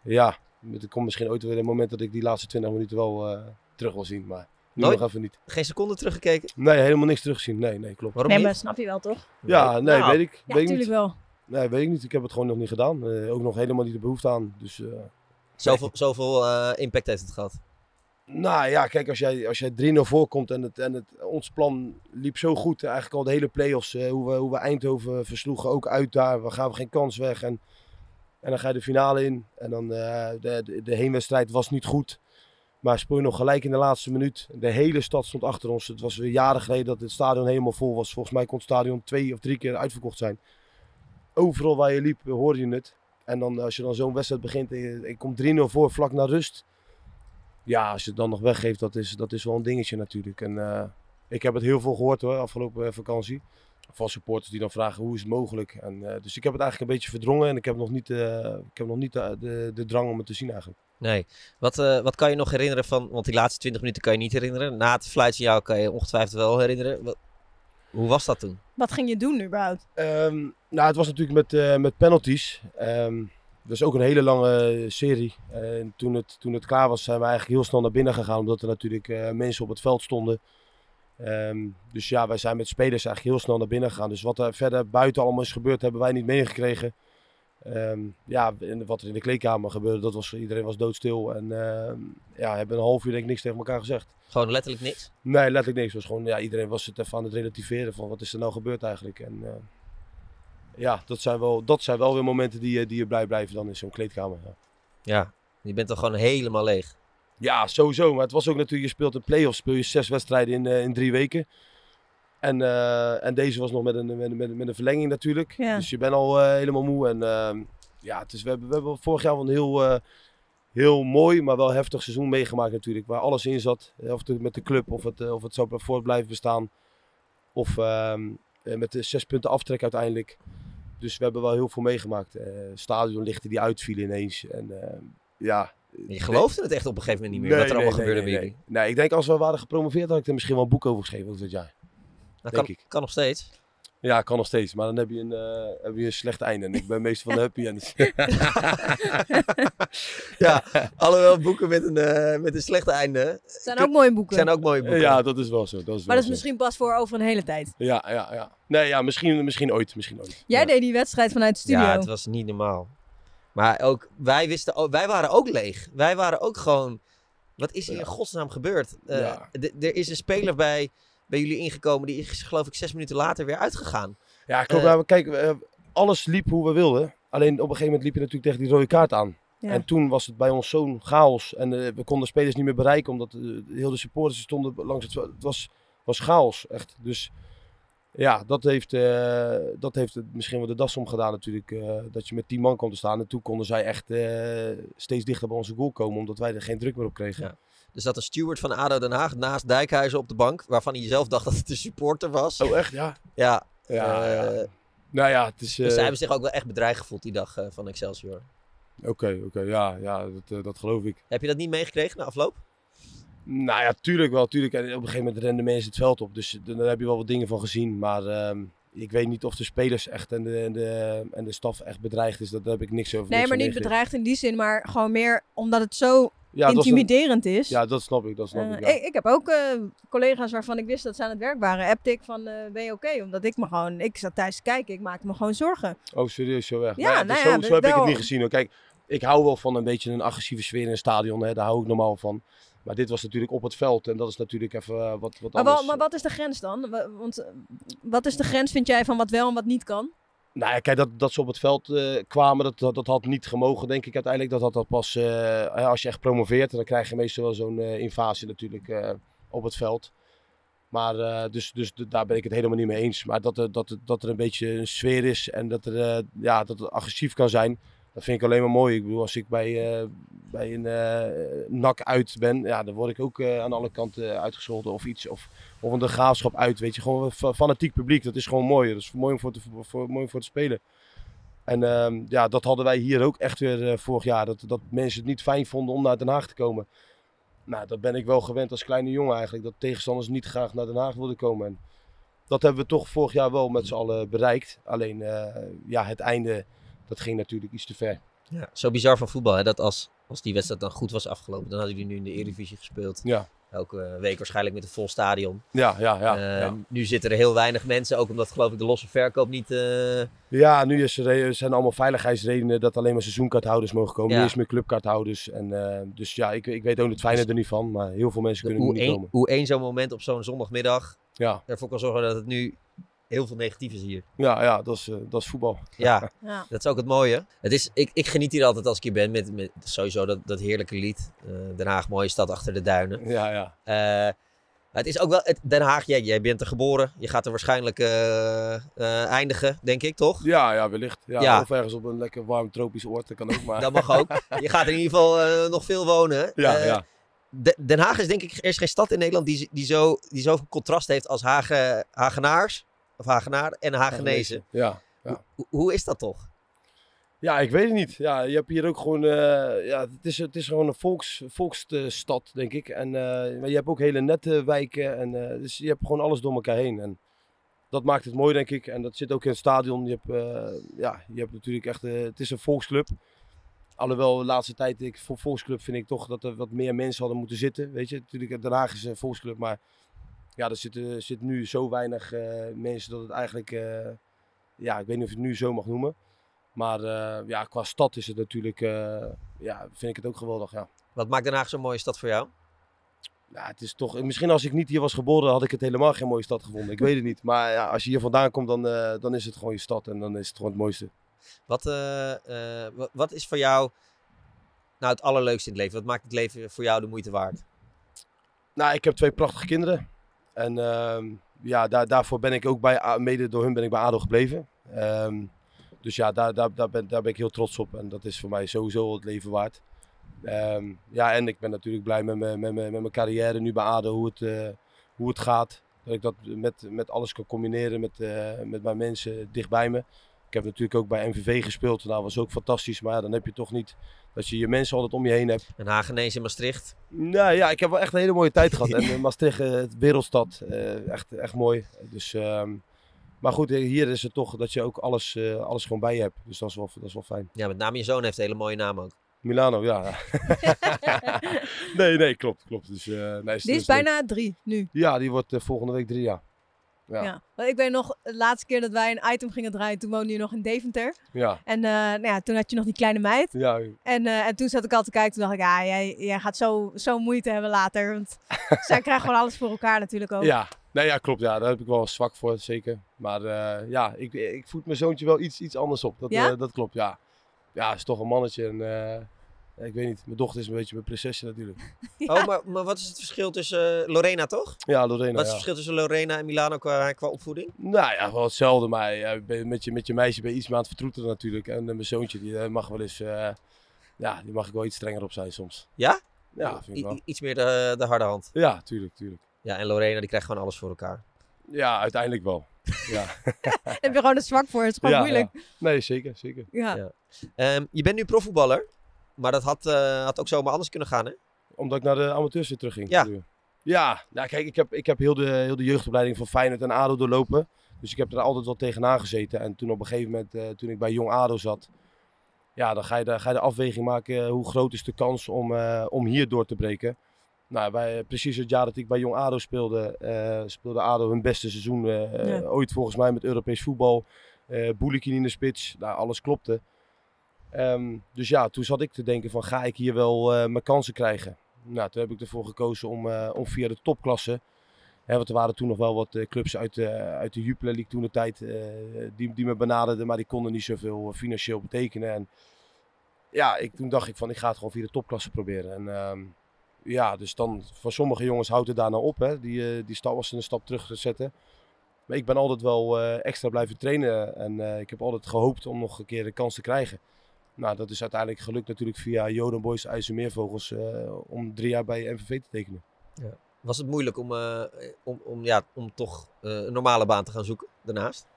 ja, er komt misschien ooit weer een moment dat ik die laatste 20 minuten wel eh, terug wil zien. Maar nu Nooit? nog even niet. Geen seconde teruggekeken. Nee, helemaal niks teruggezien. Nee, nee, klopt. Waarom Nee, niet? maar snap je wel toch? Ja, nee, Nou, weet ik. Ja, weet ik natuurlijk niet. wel. Nee, weet ik niet. Ik heb het gewoon nog niet gedaan. Eh, ook nog helemaal niet de behoefte aan. Dus eh, Zoveel, zoveel eh, impact heeft het gehad. Nou ja, kijk, als jij, als jij 3-0 voorkomt en, het, en het, ons plan liep zo goed. Eigenlijk al de hele play-offs, eh, hoe, we, hoe we Eindhoven versloegen, ook uit daar. We gaven geen kans weg. En, en dan ga je de finale in. En dan, eh, de, de, de heenwedstrijd was niet goed. Maar speel je nog gelijk in de laatste minuut. De hele stad stond achter ons. Het was weer jaren geleden dat het stadion helemaal vol was. Volgens mij kon het stadion twee of drie keer uitverkocht zijn. Overal waar je liep, hoorde je het. En dan, eh, als je dan zo'n wedstrijd begint en je, je komt 3-0 voor, vlak naar rust ja, als je het dan nog weggeeft, dat is, dat is wel een dingetje natuurlijk. En eh, ik heb het heel veel gehoord hoor, afgelopen eh, vakantie. Van supporters die dan vragen hoe is het mogelijk. En, eh, dus ik heb het eigenlijk een beetje verdrongen en ik heb nog niet, eh, ik heb nog niet de, de, de drang om het te zien eigenlijk. Nee. Wat, eh, wat kan je nog herinneren van. Want die laatste 20 minuten kan je niet herinneren. Na het fluitsignaal kan je ongetwijfeld wel herinneren. Wat- hoe was dat toen? Wat ging je doen überhaupt? Ehm, nou, het was natuurlijk met, eh, met penalties. Ehm, dat is ook een hele lange serie. En toen het, toen het klaar was, zijn we eigenlijk heel snel naar binnen gegaan. Omdat er natuurlijk eh, mensen op het veld stonden. Eh, Ehm, dus ja, wij zijn met spelers eigenlijk heel snel naar binnen gegaan. Dus wat er verder buiten allemaal is gebeurd, hebben wij niet meegekregen. Ehm, ja, en wat er in de kleedkamer gebeurde, dat was, iedereen was doodstil. En ehm, ja, hebben een half uur denk ik niks tegen elkaar gezegd. Gewoon letterlijk niks. Nee, letterlijk niks. Het Was gewoon, ja, iedereen was het even aan het relativeren van wat is er nou gebeurd eigenlijk. En eh, ja, dat zijn, wel, dat zijn wel weer momenten die, je- die je blij blijven dan in zo'n kleedkamer. Ja. Ja. Je bent dan gewoon helemaal leeg. Ja, sowieso. Maar het was ook natuurlijk, je speelt een play-off, speel je zes wedstrijden in, eh, in drie weken. En, eh, en deze was nog met een, met, een- met, een- met een verlenging natuurlijk. Ja. Dus je bent al eh, helemaal moe. En ehm, ja, het is, we, hebben, we hebben vorig jaar wel een heel, eh, heel mooi, maar wel heftig seizoen meegemaakt natuurlijk. Waar alles in zat. Eh, Of het met de club, of het, eh, of het zou voort blijven bestaan. Of ehm, eh, met de zes punten aftrek uiteindelijk. Dus we hebben wel heel veel meegemaakt. Eh stadionlichten die uitvielen ineens. En ehm, ja... Je geloofde het echt op een gegeven moment niet meer wat er allemaal gebeurde bij nee, jullie. nee. Nee, ik denk als we waren gepromoveerd had ik er misschien wel een boek over geschreven ook dat jaar. Dat Denk kan, ik. kan nog steeds. Ja, kan nog steeds, maar dan heb je een, eh, heb je een slecht einde. En ik ben meestal van de happy end. Alhoewel boeken met een, eh, met een slecht einde Het zijn ook mooie boeken. zijn ook mooie boeken. ja, dat is wel zo. Dat maar is wel dat zo. is misschien pas voor over een hele tijd. Ja, ja, ja. Nee, ja, misschien, misschien ooit. Misschien ooit. Jij ja. deed die wedstrijd vanuit de studio. Ja, het was niet normaal. Maar ook, wij wisten, ook- wij waren ook leeg. Wij waren ook gewoon, wat is hier Ja. in godsnaam gebeurd? Eh, Ja. d- Er is een speler bij, bij jullie ingekomen, die is geloof ik zes minuten later weer uitgegaan. Ja, klopt. Eh. Nou, kijk, eh, alles liep hoe we wilden. Alleen op een gegeven moment liep je natuurlijk tegen die rode kaart aan. Ja. En toen was het bij ons zo'n chaos. En eh, we konden spelers niet meer bereiken, omdat eh, heel de supporters stonden langs het... Het was, was chaos, echt. Dus ja, dat heeft, eh, dat heeft het misschien wel de das omgedaan natuurlijk. eh, dat je met tien man kwam te staan. En toen konden zij echt eh, steeds dichter bij onze goal komen, omdat wij er geen druk meer op kregen. Ja. Er zat een steward van ADO Den Haag naast Dijkhuizen op de bank, waarvan hij zelf dacht dat het een supporter was. Oh, echt? Ja? Ja, Ja, eh, ja. Nou ja, het is... dus eh, zij hebben zich ook wel echt bedreigd gevoeld die dag eh, van Excelsior. Oké, oké. ja, ja dat, eh, dat geloof ik. Heb je dat niet meegekregen na afloop? Nou ja, tuurlijk wel, tuurlijk. En op een gegeven moment renden mensen het veld op. Dus dan heb je wel wat dingen van gezien. Maar ehm, ik weet niet of de spelers echt en de, en de, en de staf echt bedreigd is. Dat, daar heb ik niks over. nee, niks maar van niet meegekregen. bedreigd in die zin, maar gewoon meer omdat het zo Ja, dat was een- intimiderend is. ja, dat snap ik. Dat snap Eh, ik, ja. ik, ik heb ook eh, collega's waarvan ik wist dat ze aan het werk waren. Appte ik van, eh, ben je oké? Omdat ik me gewoon, ik zat thuis te kijken, ik maakte me gewoon zorgen. Oh, serieus, zo weg. Ja, Ja, dus nou zo, ja, zo heb ik wel- het niet gezien. Hoor. Kijk, ik hou wel van een beetje een agressieve sfeer in een stadion. Hè. Daar hou ik normaal van. Maar dit was natuurlijk op het veld. En dat is natuurlijk even eh, wat, wat Maar, anders. wel- maar wat is de grens dan? Wa- Want eh, wat is de grens, vind jij, van wat wel en wat niet kan? Nou ja, kijk, dat, dat ze op het veld eh, kwamen, dat, dat, dat had niet gemogen, denk ik uiteindelijk. Dat had dat pas, eh, hè, als je echt promoveert, dan krijg je meestal wel zo'n eh, invasie natuurlijk eh, op het veld. Maar eh, dus, dus d- daar ben ik het helemaal niet mee eens. Maar dat, er- dat, er- dat er een beetje een sfeer is en dat, er, eh, ja, dat het agressief kan zijn, dat vind ik alleen maar mooi. Ik bedoel, als ik bij, eh, bij een eh nak uit ben, ja, dan word ik ook eh, aan alle kanten uitgescholden of iets. Of, of een de graafschap uit, weet je. Gewoon een fa- fanatiek publiek, dat is gewoon mooi. Dat is mooi om voor te, voor, mooi om voor te spelen. En ehm, ja, dat hadden wij hier ook echt weer eh, vorig jaar. Dat, dat mensen het niet fijn vonden om naar Den Haag te komen. Nou, dat ben ik wel gewend als kleine jongen eigenlijk. Dat tegenstanders niet graag naar Den Haag wilden komen. En dat hebben we toch vorig jaar wel met z'n allen bereikt. Alleen, eh, ja, het einde, dat ging natuurlijk iets te ver. Ja. Zo bizar van voetbal, hè? dat als, als die wedstrijd dan goed was afgelopen, dan hadden jullie nu in de Eredivisie gespeeld. Mm. Ja, Elke week waarschijnlijk met een vol stadion. ja, ja. Ja, Eh, ja. Nu zitten er heel weinig mensen, ook omdat geloof ik de losse verkoop niet... eh, Ja, nu is er, er zijn allemaal veiligheidsredenen dat alleen maar seizoenkaarthouders mogen komen. Ja. Niet eens meer clubkaarthouders. En, eh, dus ja, ik, ik weet ook het fijne er niet van, maar heel veel mensen kunnen hoe, nu niet Dus één, komen. hoe één zo'n moment op zo'n zondagmiddag Ja, ervoor kan zorgen dat het nu heel veel negatief is hier. ja, ja dat, is, eh, dat is voetbal. Ja, Ja. dat is ook het mooie. Het is, ik, ik geniet hier altijd als ik hier ben met, met sowieso dat, dat heerlijke lied. eh, Den Haag, mooie stad achter de duinen. Ja, ja. Eh, maar het is ook wel... Het, Den Haag, jij, jij bent er geboren. Je gaat er waarschijnlijk eh, eh, eindigen, denk ik, toch? Ja, ja wellicht. Ja, Ja. Of ergens op een lekker warm tropisch oord, dat kan ook maar. Dat mag ook. Je gaat in ieder geval eh, nog veel wonen. ja, Eh, ja. De- Den Haag is denk ik, er is geen stad in Nederland die, z- die, zo, die zoveel contrast heeft als Hagen, Hagenaars, of Hagenaar en Hagenezen. Ja. Hoe, hoe is dat toch? Ja, ik weet het niet. Ja, je hebt hier ook gewoon. eh, ja, het, is, het is gewoon een volks, volksstad, denk ik. En eh, maar je hebt ook hele nette wijken. En, eh, dus je hebt gewoon alles door elkaar heen. En dat maakt het mooi, denk ik. En dat zit ook in het stadion. Je hebt, eh, ja, je hebt natuurlijk echt. eh, het is een volksclub. Alhoewel de laatste tijd, ik, voor eh, volksclub vind ik toch dat er wat meer mensen hadden moeten zitten. Weet je, natuurlijk, Den Haag is een volksclub, maar ja, er zitten zit nu zo weinig eh, mensen dat het eigenlijk, eh, ja, ik weet niet of je het nu zo mag noemen. Maar eh, ja, qua stad is het natuurlijk, eh, ja, vind ik het ook geweldig, ja. Wat maakt Den Haag zo'n mooie stad voor jou? Ja, het is toch, misschien als ik niet hier was geboren, had ik het helemaal geen mooie stad gevonden. Ik weet het niet. Maar ja, als je hier vandaan komt, dan, eh, dan is het gewoon je stad en dan is het gewoon het mooiste. Wat, eh, eh, wa- wat is voor jou nou het allerleukste in het leven? Wat maakt het leven voor jou de moeite waard? Nou, ik heb twee prachtige kinderen. En ehm, ja, daar, daarvoor ben ik ook bij, A- mede door hun ben ik bij ADO gebleven. Ehm, dus ja, daar, daar, daar, ben, daar ben ik heel trots op. En dat is voor mij sowieso het leven waard. Ehm, ja, en ik ben natuurlijk blij met mijn, met mijn, met mijn carrière nu bij ADO, hoe het, eh, hoe het gaat. Dat ik dat met, met alles kan combineren met, eh, met mijn mensen dicht bij me. Ik heb natuurlijk ook bij MVV gespeeld. Nou, was ook fantastisch. Maar ja, dan heb je toch niet dat je je mensen altijd om je heen hebt. Den Haag ineens in Maastricht. Nou ja, ik heb wel echt een hele mooie tijd gehad. En eh, Maastricht, eh, het wereldstad, eh, echt, echt mooi. Dus, ehm, maar goed, eh, hier is het toch dat je ook alles, eh, alles gewoon bij je hebt. Dus dat is wel, dat is wel fijn. Ja, met name je zoon heeft een hele mooie naam ook. Milano, ja. nee, nee, klopt. klopt. Dus, eh, nee, Die is dus- bijna drie nu. Ja, die wordt eh, volgende week drie jaar. Ja. Ja. Want Ik weet nog, de laatste keer dat wij een item gingen draaien, toen woonde je nog in Deventer. Ja. En eh, nou ja, toen had je nog die kleine meid. Ja, En, eh, en toen zat ik al te kijken, toen dacht ik, ah, jij, jij gaat zo, zo moeite hebben later. Want zij krijgen gewoon alles voor elkaar natuurlijk ook. ja. Nee, ja, klopt. Ja, daar heb ik wel zwak voor, zeker. Maar eh, ja, ik, ik voed mijn zoontje wel iets, iets anders op. Dat, Ja? eh, dat klopt, ja. Ja, is toch een mannetje. En eh, ik weet niet, mijn dochter is een beetje mijn prinsesje natuurlijk. Ja. Oh, maar, maar wat is het verschil tussen eh, Lorena toch? Ja, Lorena. wat is het ja. verschil tussen Lorena en Milano qua, qua opvoeding? Nou ja, wel hetzelfde, maar ja, ben- met, je, met je meisje ben je iets meer aan het vertroetelen natuurlijk. En eh, mijn zoontje, die eh, mag wel eens, eh, ja, die mag ik wel iets strenger op zijn soms. Ja? Oh, Ja, vind ik I- wel. i- iets meer de, de harde hand. Ja, tuurlijk, tuurlijk. Ja, en Lorena die krijgt gewoon alles voor elkaar. Ja, uiteindelijk wel. Ja, Daar heb je gewoon het zwak voor, het is Oh, gewoon ja, moeilijk. ja. Nee, zeker, zeker. Ja. Ja. Ehm, je bent nu profvoetballer, maar dat had, eh, had ook zomaar anders kunnen gaan, hè? Omdat ik naar de amateurs weer terugging. Ja. bedoel je? Ja, nou, kijk, ik heb, ik heb heel, de, heel de jeugdopleiding van Feyenoord en ADO doorlopen. Dus ik heb er altijd wel tegenaan gezeten. En toen op een gegeven moment, eh, toen ik bij Jong ADO zat... Ja, dan ga je de, ga je de afweging maken. eh, Hoe groot is de kans om, eh, om hier door te breken? Nou, bij, precies het jaar dat ik bij Jong ADO speelde... eh, speelde ADO hun beste seizoen eh, eh, Ja. ooit volgens mij met Europees voetbal. eh Boulikin in de spits. Nou, alles klopte. Ehm, dus ja, toen zat ik te denken van ga ik hier wel eh, mijn kansen krijgen? Nou, toen heb ik ervoor gekozen om, eh, om via de topklasse. Hè, want er waren toen nog wel wat eh, clubs uit, eh, uit de Jupiler League toen de tijd eh, die, die me benaderden, maar die konden niet zoveel eh, financieel betekenen. En ja, ik, toen dacht ik van ik ga het gewoon via de topklasse proberen. En ehm, ja, dus dan voor sommige jongens houdt het daar nou op, hè, die, eh, die stap was een stap terug te zetten. Maar ik ben altijd wel eh, extra blijven trainen en eh, ik heb altijd gehoopt om nog een keer de kans te krijgen. Nou, dat is uiteindelijk gelukt natuurlijk via Joden Boys IJsselmeervogels eh, om drie jaar bij MVV te tekenen. Was het moeilijk om, eh, om, om, ja, om toch eh, een normale baan te gaan zoeken daarnaast?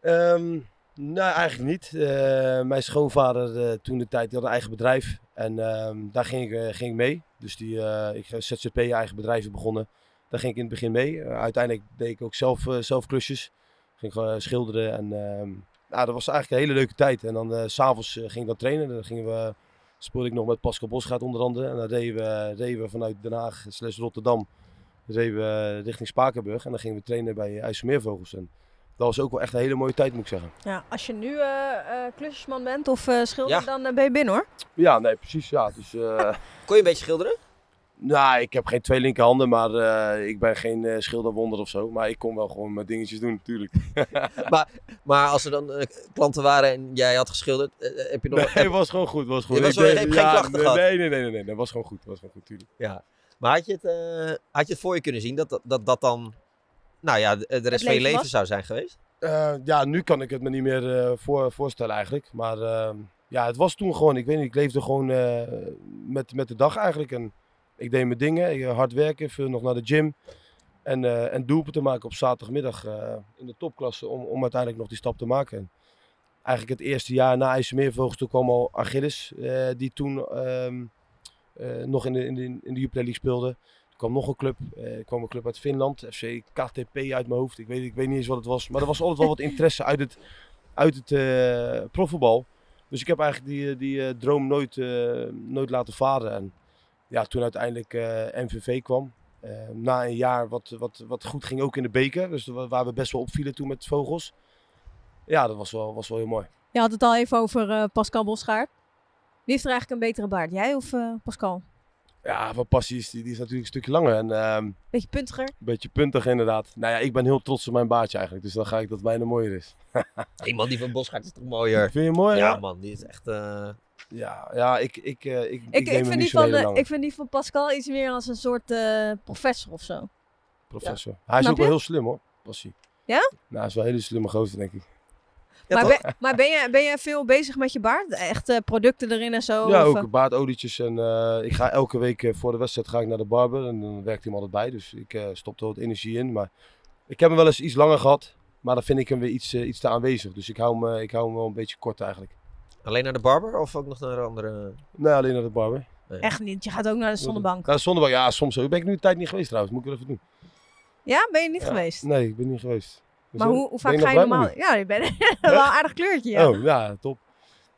Ehm, nou, eigenlijk niet. Eh, mijn schoonvader eh, toen de tijd die had een eigen bedrijf en ehm, daar ging ik, eh, ging ik mee. Dus die, eh, ik ben ZZP eigen bedrijven begonnen. Daar ging ik in het begin mee. Eh, uiteindelijk deed ik ook zelf, eh, zelf klusjes. Ging gewoon eh, schilderen en ehm, nou, dat was eigenlijk een hele leuke tijd. En dan eh, s s'avonds eh, ging ik dan trainen. Dan gingen we, speelde ik nog met Pascal Bosgaard onder andere. En dan reden we, reden we vanuit Den Haag slash Rotterdam reden we eh, richting Spakenburg. En dan gingen we trainen bij IJsselmeervogels. En dat was ook wel echt een hele mooie tijd moet ik zeggen. Ja, als je nu eh, eh, klusjesman bent of eh, schilder, Ja. dan eh, ben je binnen hoor. Ja, nee, precies. Ja. Dus, eh, Kon je een beetje schilderen? nou, ik heb geen twee linkerhanden, maar eh, ik ben geen eh, schilderwonder of zo. Maar ik kon wel gewoon mijn dingetjes doen, natuurlijk. Maar als er dan eh, klanten waren en jij had geschilderd, eh, eh, heb je nog... Nee, het was gewoon goed. Was goed. Je was Ik wel- je deed- hebt geen klachten nee, gehad? Nee, nee, nee, nee, nee. Dat was gewoon goed. Dat was gewoon goed, tuurlijk. Maar had je, het, eh, had je het voor je kunnen zien dat dat, dat, dat dan, nou ja, de, de rest van je leven leven was? zou zijn geweest? Eh, ja, nu kan ik het me niet meer eh, voor, voorstellen eigenlijk. Maar ehm, ja, het was toen gewoon, ik weet niet, ik leefde gewoon eh, met, met de dag eigenlijk. En ik deed mijn dingen, ik, eh, hard werken, veel nog naar de gym. En, eh en doelpunten maken op zaterdagmiddag eh, in de topklasse om, om uiteindelijk nog die stap te maken. En eigenlijk het eerste jaar na IJsselmeervogels, toen kwam al Achilles, eh, die toen ehm, eh, nog in de, in de, in de Jupiler League speelde. Er kwam nog een club. eh, Er kwam een club uit Finland, FC KTP uit mijn hoofd. Ik weet, ik weet niet eens wat het was. Maar er was altijd wel wat interesse uit het, uit het eh, profvoetbal. Dus ik heb eigenlijk die, eh, die eh, droom nooit, eh, nooit laten varen. En ja, toen uiteindelijk eh, MVV kwam. eh, na een jaar wat, wat, wat goed ging ook in de beker. Dus wa- waar we best wel opvielen toen met vogels. Ja, dat was wel, was wel heel mooi. Je had het al even over eh, Pascal Bosgaard. Wie heeft er eigenlijk een betere baard? Jij of eh, Pascal? Ja, van Passie is, die, die is natuurlijk een stukje langer en ehm, een Beetje puntiger. beetje puntig inderdaad. Nou ja, ik ben heel trots op mijn baardje eigenlijk. Dus dan ga ik dat mijne mooier is. Iemand die van Bosgaard is toch mooier? Vind je hem mooi? Ja, Ja, man, die is echt. eh, ja, ja ik, ik, eh, ik, ik, Ik, neem ik, hem vind niet die zo'n van, hele eh, lange ik vind die van Pascal iets meer als een soort eh, professor of zo. professor. Hij is Snap ook wel je? heel slim hoor, Passie. Ja? Nou, hij is wel een hele slimme gozer denk ik. Ja, maar toch? ben, maar ben, jij, ben jij veel bezig met je baard? Echt eh, producten erin en zo? ja, of, ook eh, baardolietjes en eh, ik ga elke week eh, voor de wedstrijd ga ik naar de barber en dan werkt hij hem altijd bij. Dus ik eh, stop er wat energie in. Maar ik heb hem wel eens iets langer gehad, maar dan vind ik hem weer iets, eh, iets te aanwezig. Dus ik hou, hem, eh, ik hou hem wel een beetje kort eigenlijk. Alleen naar de barber of ook nog naar een andere. Nee, alleen naar de barber. Echt niet. Je gaat ook naar de zonnebank. Ja, zonnebank. Ja, soms ook. Ben ik nu een tijd niet geweest trouwens. Moet ik wel even doen. Ja, ben je niet Ja. geweest? Nee, ik ben niet geweest. Dus Maar dan- hoe, hoe ben vaak ga je nog blij normaal? met Ja, je bent wel een aardig kleurtje. me? Ja. Oh, ja, top.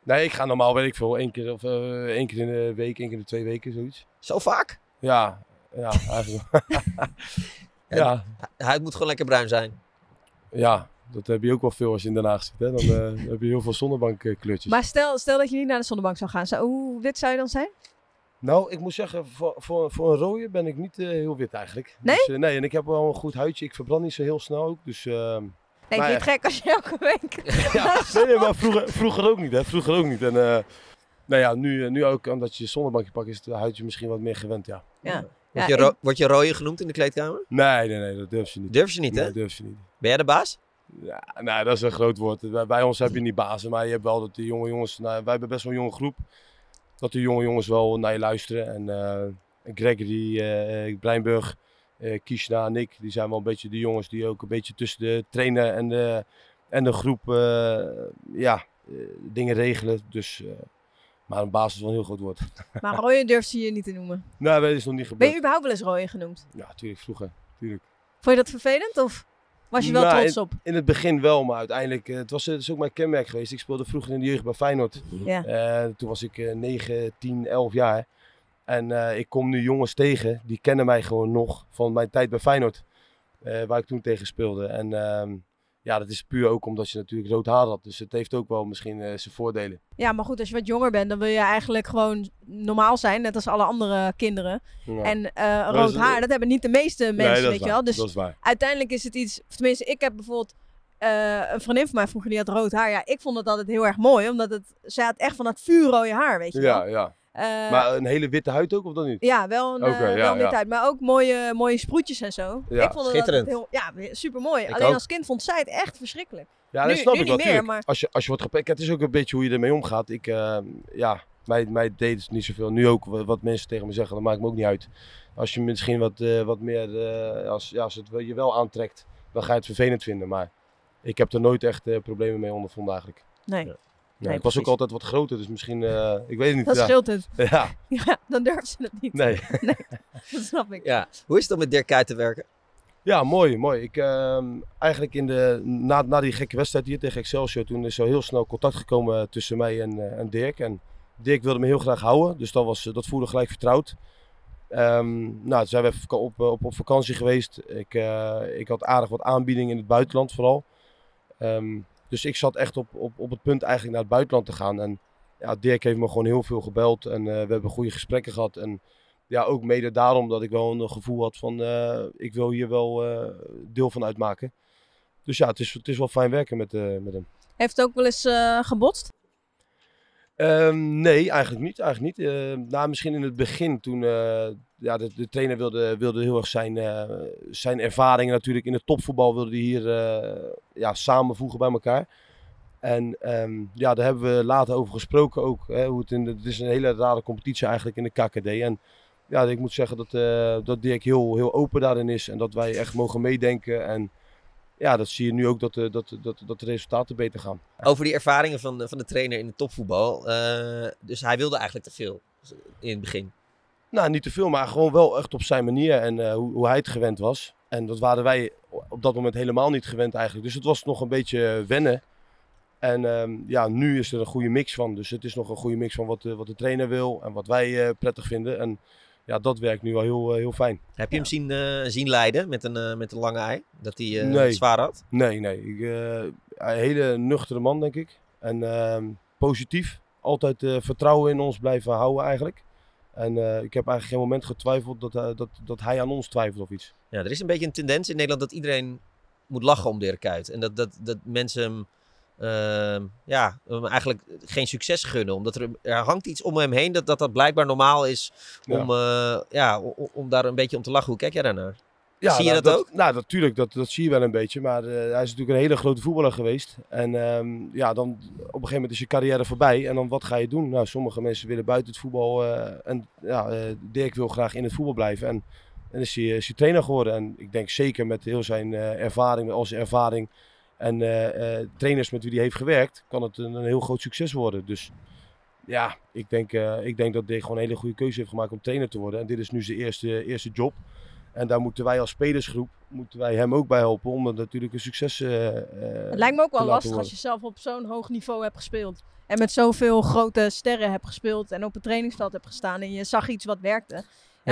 Nee, ik ga normaal, weet ik veel, één keer, of, eh, één keer in de week, één keer in de twee weken, zoiets. Zo vaak? Ja, ja, eigenlijk wel. ja, Hij moet gewoon lekker bruin zijn. ja, dat heb je ook wel veel als je in Den Haag zit. Hè? Dan eh, heb je heel veel zonnebankkleurtjes. Maar stel, stel dat je niet naar de zonnebank zou gaan. Zou, hoe wit zou je dan zijn? Nou, ik moet zeggen, voor, voor, voor een rode ben ik niet eh, heel wit eigenlijk. Nee? Dus, eh, nee, en ik heb wel een goed huidje. Ik verbrand niet zo heel snel ook, dus... ehm, Nee, ik Maar vind het gek als je elke week... Nee, nee, maar vroeger, vroeger ook niet, hè? Vroeger ook niet. En, eh, nou ja, nu, eh, nu ook omdat je je zonnebankje pakt, is het huidje misschien wat meer gewend, ja. Word, Ja, je, ro word je rooie genoemd in de kleedkamer? Nee, nee, nee, dat durf je niet. Durf je niet, hè? Nee, dat durf je niet. Ben jij de baas? Ja, nou, dat is een groot woord. Bij, bij ons heb je niet bazen, maar je hebt wel dat de jonge jongens... Nou, wij hebben best wel een jonge groep. Dat de jonge jongens wel naar je luisteren. En eh, Gregory, eh Breinburg, eh Kishna en ik, die zijn wel een beetje de jongens die ook een beetje tussen de trainer en de, en de groep eh, ja, eh, dingen regelen. Dus, eh, maar een baas is wel een heel groot woord. maar rooien durft ze je niet te noemen. Nou, dat is nog niet Ben je gebeurd. überhaupt wel eens rooien genoemd? Ja, natuurlijk vroeger. Tuurlijk. Vond je dat vervelend of was je wel Nou, trots op? In het begin wel, maar uiteindelijk, eh, het was het is ook mijn kenmerk geweest. Ik speelde vroeger in de jeugd bij Feyenoord. Ja. Eh, toen was ik eh, 9, 10, 11 jaar. En eh, ik kom nu jongens tegen, die kennen mij gewoon nog van mijn tijd bij Feyenoord. eh, waar ik toen tegen speelde. En ehm, ja, dat is puur ook omdat je natuurlijk rood haar had. Dus het heeft ook wel misschien eh, zijn voordelen. Ja, maar goed, als je wat jonger bent, dan wil je eigenlijk gewoon normaal zijn, net als alle andere kinderen. Ja. En eh Dat rood is- haar, dat hebben niet de meeste Nee, mensen, dat is weet je waar, wel. Dus dat is waar. uiteindelijk is het iets, of tenminste, ik heb bijvoorbeeld eh, een vriendin van mij vroeger, die had rood haar. Ja, ik vond het altijd heel erg mooi, omdat het, zij had echt van dat vuurrode haar, weet je wel. Ja, ja. Eh, maar een hele witte huid ook, of dat niet? Ja, wel een, Oké, eh, ja, wel een wit ja. uit. Maar ook mooie, mooie sproetjes en zo. Ja, ik vond het schitterend. altijd heel, ja, super mooi. Ik Alleen ook. als kind vond zij het echt verschrikkelijk. Ja, Nu- dat snap nu ik wel. niet meer, tuurlijk. maar- als, je, als je wordt gepakt, het is ook een beetje hoe je ermee omgaat. Ik, eh, ja, mij, mij deed het niet zoveel. Nu ook, wa- wat mensen tegen me zeggen, dat maakt me ook niet uit. Als je misschien wat, eh, wat meer, eh, als, ja, als het wel- je wel aantrekt, dan ga je het vervelend vinden. Maar ik heb er nooit echt eh, problemen mee ondervonden eigenlijk. Nee, Ja. Nee, Nee, ik was ook precies. altijd wat groter, dus misschien, eh, ik weet het niet. dat ja. scheelt het. Ja, Ja, dan durft ze het niet. nee. Dat snap ik. Ja. Hoe is het om met Dirk Kuyt te werken? Ja, mooi, mooi. Ik, ehm, eigenlijk in de, na, na die gekke wedstrijd hier tegen Excelsior, toen is er heel snel contact gekomen tussen mij en, eh, en Dirk. En Dirk wilde me heel graag houden, dus dat, was, eh, dat voelde gelijk vertrouwd. Ehm, nou, toen zijn we even vaka- op, op, op vakantie geweest. Ik, eh, ik had aardig wat aanbiedingen in het buitenland vooral. Ehm, dus ik zat echt op, op, op het punt eigenlijk naar het buitenland te gaan. En ja, Dirk heeft me gewoon heel veel gebeld en eh, we hebben goede gesprekken gehad. En ja, ook mede daarom dat ik wel een gevoel had van eh, ik wil hier wel eh, deel van uitmaken. Dus ja, het is, het is wel fijn werken met, eh, met hem. Heeft het ook wel eens eh, gebotst? Ehm, nee, eigenlijk niet. Eigenlijk niet. Eh, nou, misschien in het begin toen eh, ja, de, de trainer wilde, wilde heel erg zijn, eh, zijn ervaringen natuurlijk in het topvoetbal wilde hij hier eh, ja, samenvoegen bij elkaar. En ehm, ja, daar hebben we later over gesproken ook. Hè, hoe het, in de, het is een hele rare competitie eigenlijk in de KKD. En ja, ik moet zeggen dat, eh, dat Dirk heel, heel open daarin is en dat wij echt mogen meedenken. En ja, dat zie je nu ook dat, eh, dat, dat, dat de resultaten beter gaan. Over die ervaringen van de, van de trainer in het topvoetbal. eh, dus hij wilde eigenlijk te veel in het begin. Nou, niet te veel, maar gewoon wel echt op zijn manier en eh, hoe, hoe hij het gewend was. En dat waren wij op dat moment helemaal niet gewend eigenlijk. Dus het was nog een beetje wennen. En ehm, ja, nu is er een goede mix van. Dus het is nog een goede mix van wat, de- wat de trainer wil en wat wij eh, prettig vinden. En ja, dat werkt nu wel heel, eh, heel fijn. Heb je hem zien, eh, zien leiden met een, eh, met een lange ei? Dat hij eh, Nee. het zwaar had? Nee, nee. Ik, eh, een hele nuchtere man, denk ik. En ehm, positief. Altijd eh, vertrouwen in ons blijven houden eigenlijk. En eh, ik heb eigenlijk geen moment getwijfeld dat, eh, dat, dat hij aan ons twijfelt of iets. Ja, er is een beetje een tendens in Nederland dat iedereen moet lachen om Dirk Kuyt. En dat, dat, dat mensen hem, ehm, ja, hem eigenlijk geen succes gunnen. Omdat er, er hangt iets om hem heen dat dat, dat blijkbaar normaal is Ja. om, eh, ja, o- o- om daar een beetje om te lachen. Hoe kijk jij daarnaar? Zie je nou, dat ook? Nou, natuurlijk, dat, dat zie je wel een beetje. Maar eh, hij is natuurlijk een hele grote voetballer geweest. En ehm, ja, dan op een gegeven moment is je carrière voorbij. En dan wat ga je doen? Nou, sommige mensen willen buiten het voetbal. eh, en ja, eh, Dirk wil graag in het voetbal blijven. En dan is hij, is hij trainer geworden. En ik denk zeker met heel zijn eh, ervaring, met al zijn ervaring. En eh, eh, trainers met wie hij heeft gewerkt, kan het een, een heel groot succes worden. Dus ja, ik denk, eh, ik denk dat Dirk gewoon een hele goede keuze heeft gemaakt om trainer te worden. En dit is nu zijn eerste, eerste job. En daar moeten wij als spelersgroep moeten wij hem ook bij helpen om dat natuurlijk een succes eh, eh, Het lijkt me ook te wel laten lastig als worden. je zelf op zo'n hoog niveau hebt gespeeld. En met zoveel grote sterren hebt gespeeld en op het trainingsveld hebt gestaan. En je zag iets wat werkte. Ja,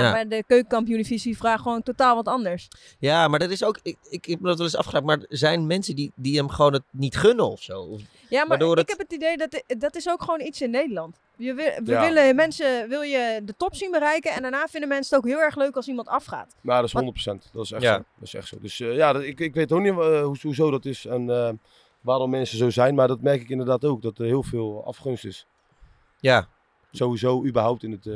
Ja. Maar de keukenkampioen-divisie vraagt gewoon totaal wat anders. Ja, maar dat is ook, ik, ik, ik heb me dat wel eens afgevraagd, maar er zijn mensen die, die hem gewoon het niet gunnen of zo. Of- Ja, maar Waardoor ik het- heb het idee dat dat is ook gewoon iets in Nederland. Je wil, we Ja. willen mensen wil je de top zien bereiken en daarna vinden mensen het ook heel erg leuk als iemand afgaat. Nou, dat is Wat- 100%. Dat is echt, Ja. zo. dat is echt zo. Dus eh, ja, dat- ik, ik weet ook niet eh, hoe- hoezo dat is en eh, waarom mensen zo zijn. Maar dat merk ik inderdaad ook, dat er heel veel afgunst is. Ja. Sowieso überhaupt in het, eh,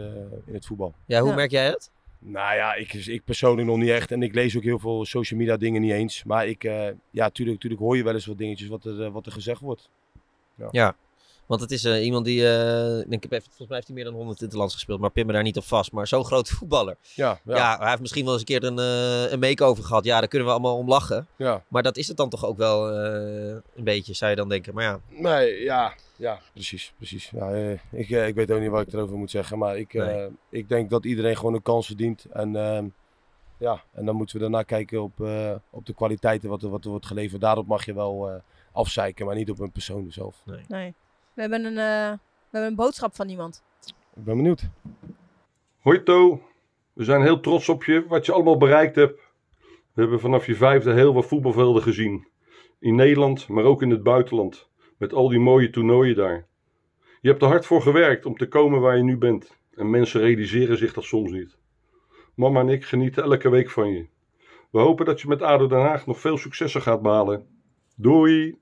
in het voetbal. ja, hoe Ja. merk jij dat? Nou ja, ik, ik persoonlijk nog niet echt. En ik lees ook heel veel social media dingen niet eens. Maar ik, eh, ja, tuurlijk, tuurlijk hoor je wel eens wat dingetjes wat er, eh, wat er gezegd wordt. Want het is eh, iemand die, eh, ik denk, ik heb even, volgens mij heeft hij meer dan 100 interlands gespeeld, maar pin me daar niet op vast. Maar zo'n groot voetballer. Ja, Ja. ja, ja. hij heeft misschien wel eens een keer een, eh, een make-over gehad. Ja, daar kunnen we allemaal om lachen. Maar dat is het dan toch ook wel eh, een beetje, zou je dan denken. Maar ja, Nee, ja, ja, precies, precies. Ja, eh, ik, eh, ik weet ook niet wat ik erover moet zeggen, maar ik, eh, Nee. ik denk dat iedereen gewoon een kans verdient. En, ehm, ja, en dan moeten we daarna kijken op, eh, op de kwaliteiten wat er, wat er wordt geleverd. Daarop mag je wel eh afzeiken, maar niet op een persoon zelf. Nee. We hebben een, eh, we hebben een boodschap van iemand. Ik ben benieuwd. Hoi To, we zijn heel trots op je, wat je allemaal bereikt hebt. We hebben vanaf je vijfde heel wat voetbalvelden gezien. In Nederland, maar ook in het buitenland. Met al die mooie toernooien daar. Je hebt er hard voor gewerkt om te komen waar je nu bent. En mensen realiseren zich dat soms niet. Mama en ik genieten elke week van je. We hopen dat je met ADO Den Haag nog veel successen gaat behalen. Doei!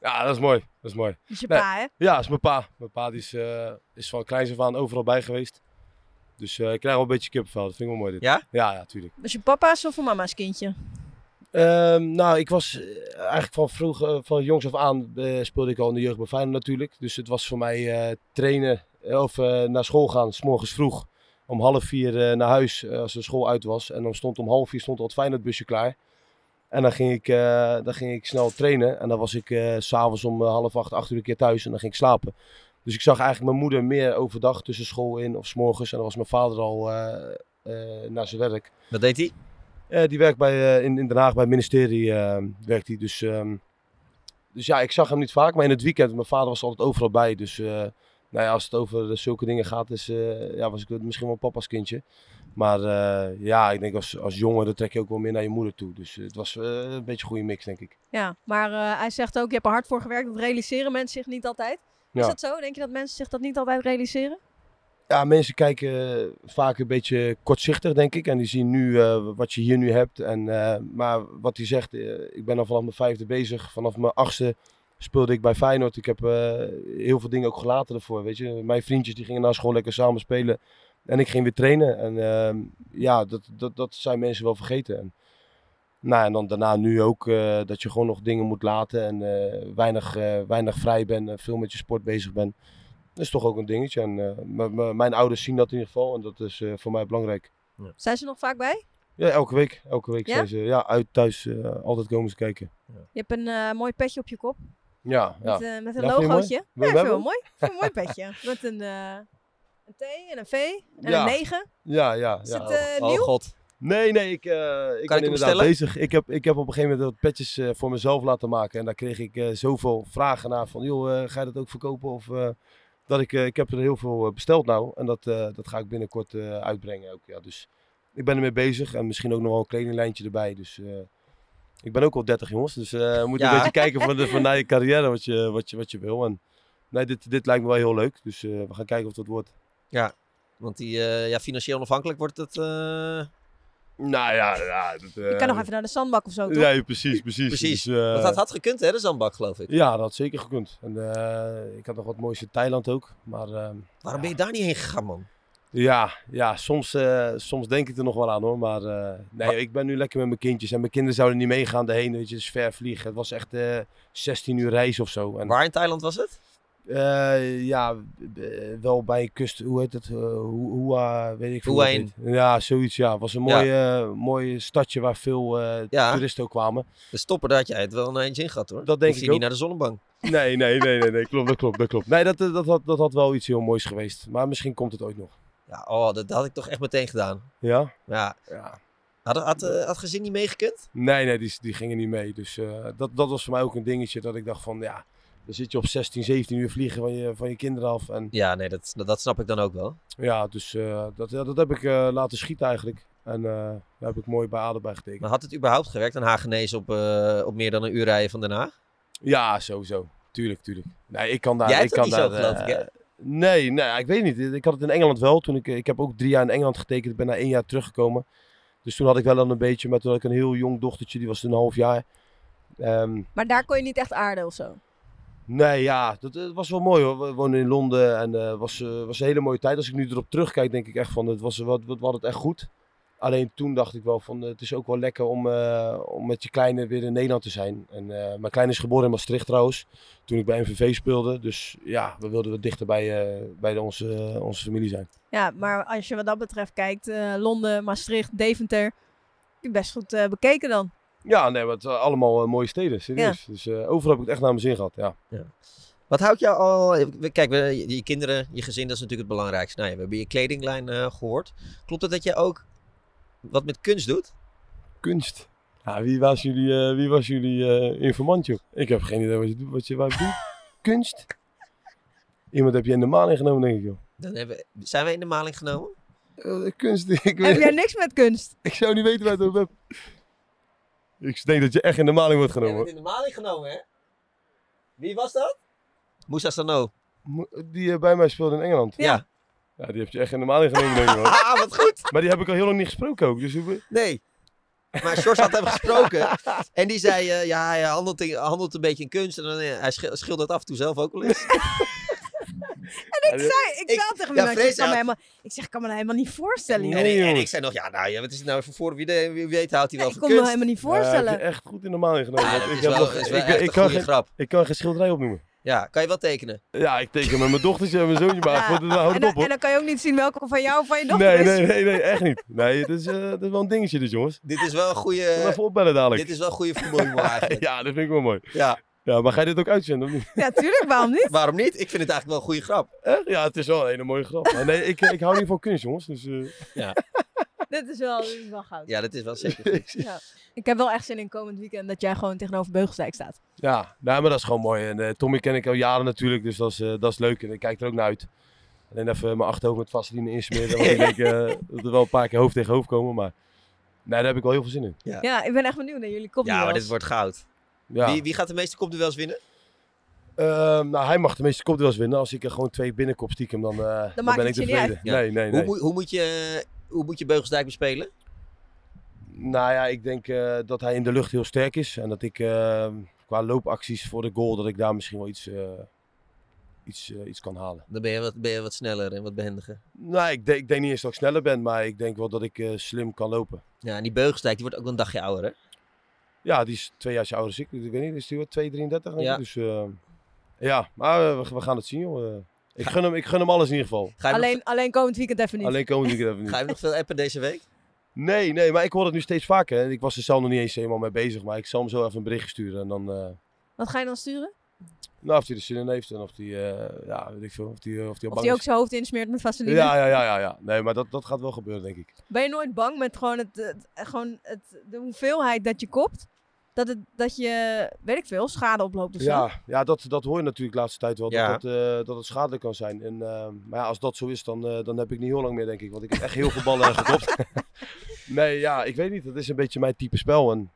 Ja, dat is mooi. Dat is mooi. Dat is je Nee. pa, hè? Ja, dat is mijn pa. Mijn pa die is, eh, is van kleins af aan overal bij geweest. Dus eh, ik krijg wel een beetje kippenvel. Dat vind ik wel mooi dit. Ja? Ja, ja, tuurlijk. Dat is je papa's of je mama's kindje? Ehm, nou, ik was eh, eigenlijk van vroeg, eh, van jongs af aan eh, speelde ik al in de jeugd bij Feyenoord natuurlijk. Dus het was voor mij eh, trainen eh, of eh, naar school gaan, s morgens vroeg. Om half vier eh, naar huis eh, als de school uit was. En dan stond om half vier stond al het Feyenoordbusje klaar. En dan ging, ik, eh, dan ging ik snel trainen. En dan was ik eh, s s'avonds om eh, half acht, acht uur een keer thuis. En dan ging ik slapen. Dus ik zag eigenlijk mijn moeder meer overdag tussen school in of s morgens. En dan was mijn vader al eh, eh, naar zijn werk. dat deed hij. Eh, die werkt bij, eh, in, in Den Haag bij het ministerie. eh, werkt hij. Dus, ehm, dus ja, ik zag hem niet vaak. Maar in het weekend, mijn vader was altijd overal bij. Dus eh, nou ja, als het over eh, zulke dingen gaat, is, eh, ja, was ik misschien wel papa's kindje. Maar eh, ja, ik denk als, als jongen, dan trek je ook wel meer naar je moeder toe. Dus eh, het was eh, een beetje een goede mix, denk ik. Ja, maar eh, hij zegt ook, je hebt er hard voor gewerkt. Dat realiseren mensen zich niet altijd. Is Ja. dat zo? Denk je dat mensen zich dat niet altijd realiseren? Ja, mensen kijken eh, vaak een beetje kortzichtig, denk ik. En die zien nu eh, wat je hier nu hebt. En, eh, maar wat hij zegt, eh, ik ben al vanaf mijn vijfde bezig. Vanaf mijn achtste speelde ik bij Feyenoord. Ik heb eh, heel veel dingen ook gelaten ervoor, weet je. Mijn vriendjes die gingen na school lekker samen spelen. En ik ging weer trainen. En eh, ja, dat, dat, dat zijn mensen wel vergeten. En, nou, en dan daarna nu ook eh, dat je gewoon nog dingen moet laten. En eh, weinig, eh, weinig vrij bent. en veel met je sport bezig bent. Dat is toch ook een dingetje. En, eh, m- m- mijn ouders zien dat in ieder geval en dat is eh, voor mij belangrijk. Zijn ze nog vaak bij? Ja, elke week. Elke week Ja? zijn ze ja, uit thuis eh, altijd komen ze kijken. Je hebt een eh, mooi petje op je kop. Ja, ja. Met, eh, met een Ja, vind je mooi? logootje. Ja, Wil ik vind je hem wel hebben? mooi. Ik vind een mooi petje. Met een, eh, een T en een V en Ja. een 9. ja, ja, Is ja. het eh, oh, nieuw? god. Nee, nee, ik, eh, ik ben hem inderdaad bestellen? bezig. Ik heb, ik heb op een gegeven moment wat petjes eh, voor mezelf laten maken. En daar kreeg ik eh, zoveel vragen naar van, joh, eh, ga je dat ook verkopen? Of eh, Dat ik, eh, ik heb er heel veel eh, besteld nou. En dat, eh, dat ga ik binnenkort eh, uitbrengen ook. Ja. Dus ik ben ermee bezig. En misschien ook nog wel een kledinglijntje erbij. Dus eh, ik ben ook al 30 jongens. Dus eh, we moet Ja. een beetje kijken van, de, van naar je carrière wat je, wat je, wat je wil. En nee, dit, dit lijkt me wel heel leuk. Dus eh, we gaan kijken of dat wordt. Want die, eh, ja, financieel onafhankelijk wordt het... eh, Nou ja, ja dat, Je kan nog even naar de zandbak of zo, toch? Ja, precies, precies. Precies. Dus, eh, Want dat had gekund, hè, de zandbak, geloof ik. Ja, dat had zeker gekund. En, eh, ik had nog wat moois in Thailand ook. Maar ehm, Waarom ben je daar niet heen gegaan, man? ja, ja soms, eh, soms denk ik er nog wel aan hoor. Maar eh, nee, ik ben nu lekker met mijn kindjes. En mijn kinderen zouden niet meegaan daarheen. Weet je, het is ver vliegen. Het was echt eh 16 uur reis of zo. En, Waar in Thailand was het? eh, ja, eh, wel bij kust. Hoe heet het? Eh, Hoe, hoe eh, weet ik veel. hoe dat Hua heet. Ja, zoiets. Ja, het was een Ja. mooi, eh, mooi stadje waar veel eh, Ja. toeristen ook kwamen. De stopper, daar had jij het wel naar eens in gehad, hoor. Dat denk Hoef ik je ook. niet naar de zonnebank. Nee, nee, nee, nee, nee, klopt, dat klopt, dat klopt. Nee, dat, eh, dat, had, dat had wel iets heel moois geweest. Maar misschien komt het ooit nog. Ja, oh, dat, dat had ik toch echt meteen gedaan. Ja? Ja. Ja. Had, had, eh, had gezin niet meegekund? Nee, nee, die, die gingen niet mee. Dus eh, dat, dat was voor mij ook een dingetje dat ik dacht van, ja, dan zit je op 16, 17 uur vliegen van je, van je kinderen af. En Ja, nee, dat, dat, dat snap ik dan ook wel. ja, dus eh, dat, ja, dat heb ik eh, laten schieten eigenlijk. En eh, daar heb ik mooi bij Adel bij getekend. Maar had het überhaupt gewerkt, een Hagenees op, eh, op meer dan een uur rijden van Den Haag? Ja, sowieso. Tuurlijk, tuurlijk. Nee, ik kan daar... Jij ik hebt kan het niet daar, zo, geloof eh, ik, hè? Nee, nee, ik weet niet. Ik had het in Engeland wel. Toen ik, ik heb ook drie jaar in Engeland getekend. Ik ben na één jaar teruggekomen. Dus toen had ik wel dan een beetje, maar toen had ik een heel jong dochtertje, die was toen een half jaar. Ehm, Maar daar kon je niet echt aarden of zo. nee, ja, dat, eh, was wel mooi hoor. We woonden in Londen en het was, eh, was een hele mooie tijd. Als ik nu erop terugkijk, denk ik echt van, het was, wat, wat, wat het echt goed. Alleen toen dacht ik wel van, eh, het is ook wel lekker om, eh, om met je kleine weer in Nederland te zijn. En, eh, mijn kleine is geboren in Maastricht trouwens, toen ik bij MVV speelde. Dus ja, we wilden wat dichter bij, eh, bij onze, onze familie zijn. Ja, maar als je wat dat betreft kijkt, eh, Londen, Maastricht, Deventer. Best goed eh, bekeken dan. Ja, nee, maar het zijn allemaal eh, mooie steden, serieus. Dus eh, overal heb ik het echt naar mijn zin gehad, ja. Wat houdt jou al... Kijk, we, je, je kinderen, je gezin, dat is natuurlijk het belangrijkste. Nou ja, we hebben je kledinglijn eh, gehoord. Klopt het dat je ook wat met kunst doet? Kunst. Ja, wie was jullie, eh, wie was jullie eh, informant, joh? Ik heb geen idee wat je, doet- wat je, wat je doet. Kunst? Iemand heb je in de maan ingenomen, denk ik, joh. Dan hebben, we- zijn we in de maling genomen? Eh, kunst, ik, Heb weet, jij niks met kunst? ik zou niet weten waar het over hebt. Ik denk dat je echt in de maling wordt genomen. hoor. in de maling genomen, hè? Wie was dat? Moussa Sano. Mo- Die eh, bij mij speelde in Engeland. Ja. Ja, die heb je echt in de maling genomen, denk ik, hoor. Ah, wat goed. Maar die heb ik al heel lang niet gesproken ook, dus... hoe- Nee. Maar Sjors had hem gesproken. En die zei, eh, ja, hij handelt, in- handelt een beetje in kunst. En dan, eh, hij schil- schildert af en toe zelf ook wel eens. Ja, die- Zei, ik, Ik- zei al tegen ja, mijn Frees ik, kan me had- helemaal, ik zeg, ik kan me dat helemaal niet voorstellen. joh. En, ik- en jongen. ik zei nog, ja, nou ja, wat is het nou even voor? Wie, de- wie weet houdt hij wel ik van kon me kunst. helemaal niet Ja, voorstellen. heb je echt goed in de maling Ja, genomen. want dat ik is heb wel, nog- is wel ik- echt ik een kan goede geen- grap. Ik kan geen schilderij opnoemen. Ja, kan je wel tekenen. Ja, ik teken met mijn dochtertje en mijn zoontje, maar Ja. voor de, houd en, het dan, op hoor. en dan kan je ook niet zien welke van jou of van je dochter nee, is. nee, nee, nee, echt niet. Nee, het is, eh, het is wel een dingetje dit jongens. Dit is wel een Kom goede, even opbellen dadelijk. dit is wel een goede voetbalhumor eigenlijk. Ja, dat vind ik wel mooi. Ja, Ja, maar ga je dit ook uitzenden of niet? Ja, tuurlijk, waarom niet? waarom niet? Ik vind het eigenlijk wel een goede grap. Echt? Ja, het is wel een hele mooie grap. Maar nee, ik, ik hou niet van kunst jongens, dus... eh, Dit is wel, dit is wel goud. Ja, dat is wel zeker goed. Ik heb wel echt zin in komend weekend dat jij gewoon tegenover Beugelsdijk staat. Ja, nou, maar dat is gewoon mooi. En eh, Tommy ken ik al jaren natuurlijk, dus dat is, eh, dat is leuk. En ik kijk er ook naar uit. Alleen even mijn achterhoofd met vaseline insmeren. Want ik denk eh, dat er wel een paar keer hoofd tegen hoofd komen, maar... Nee, daar heb ik wel heel veel zin in. Ja. Ja, ik ben echt benieuwd naar jullie kopduels. Ja, maar dit wordt goud. Ja. Wie, wie gaat de meeste kopduels winnen? Ehm, nou, hij mag de meeste kopduels winnen. Als ik er gewoon twee binnenkop stiekem, dan, eh, dan, maakt ben het ik je niet tevreden. uit. Nee, nee, Hoe, nee. moet- hoe, moet je, hoe moet je Beugelsdijk bespelen? Nou ja, ik denk eh, dat hij in de lucht heel sterk is. En dat ik ehm, qua loopacties voor de goal, dat ik daar misschien wel iets, eh, iets, eh, iets kan halen. Dan ben je, wat, ben je wat sneller en wat behendiger. Nou, ik, denk- ik denk niet eens dat ik sneller ben, maar ik denk wel dat ik eh, slim kan lopen. Ja, en die Beugelsdijk die wordt ook wel een dagje ouder, hè? Ja, die is twee jaar ouder als ik. Ik weet niet, is die wat 2,33? denk ik? Ja. Dus ehm, ja, maar eh, we, we gaan het zien joh. Eh, Ik gun, hem, ik gun hem alles in ieder geval. Ga je, nog, Alleen, alleen komend weekend even niet. Alleen komen we er even niet. ga je nog veel appen deze week? Nee, nee, maar ik hoor het nu steeds vaker. En ik was er zelf nog niet eens helemaal mee bezig. Maar ik zal hem zo even een berichtje sturen. En dan, eh, Wat ga je dan sturen? nou, of hij er zin in heeft. En of hij, eh, ja, weet ik veel. Of hij eh, of die Of al bang die ook is. zijn hoofd insmeert met vaseline? Ja, ja, ja, ja, ja. Nee, maar dat, dat gaat wel gebeuren, denk ik. Ben je nooit bang met gewoon, het, het- gewoon het, de hoeveelheid dat je kopt? dat, het, dat je, weet ik veel, schade oploopt. of zo. Ja, ja dat, dat hoor je natuurlijk de laatste tijd wel, Ja. dat, dat, eh, dat het schadelijk kan zijn. En, eh, maar ja, als dat zo is, dan, eh, dan heb ik niet heel lang meer, denk ik. Want ik heb echt heel veel ballen gekopt. nee, ja, ik weet niet. Dat is een beetje mijn type spel. En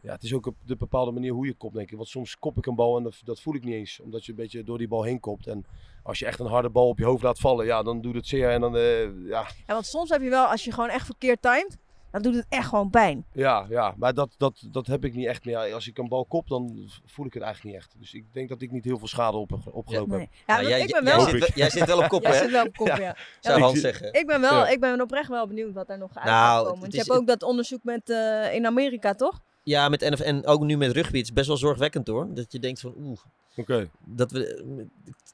ja, het is ook op de bepaalde manier hoe je kopt, denk ik. Want soms kop ik een bal en dat, dat voel ik niet eens. Omdat je een beetje door die bal heen kopt. En als je echt een harde bal op je hoofd laat vallen, ja, dan doet het zeer. En dan, eh, ja, Ja, want soms heb je wel, als je gewoon echt verkeerd timed, dan doet het echt gewoon pijn. Ja, ja maar dat, dat, dat heb ik niet echt meer. Als ik een bal kop, dan voel ik het eigenlijk niet echt. Dus ik denk dat ik niet heel veel schade op, opgelopen Nee. heb. Ja, Nou, want jij, ik ben jij wel... zit, wel- jij zit wel op kop, Jij hè? zit wel op kop, ja. Zou Ik Hans zie- zeggen. Ik ben, wel, Ja. ik ben oprecht wel benieuwd wat daar nog uit Nou, gaat komen. het Want is- je hebt ook dat onderzoek met, eh, in Amerika, toch? Ja, met NF en ook nu met rugby. Het is best wel zorgwekkend hoor. Dat je denkt van oeh, Oké. dat we.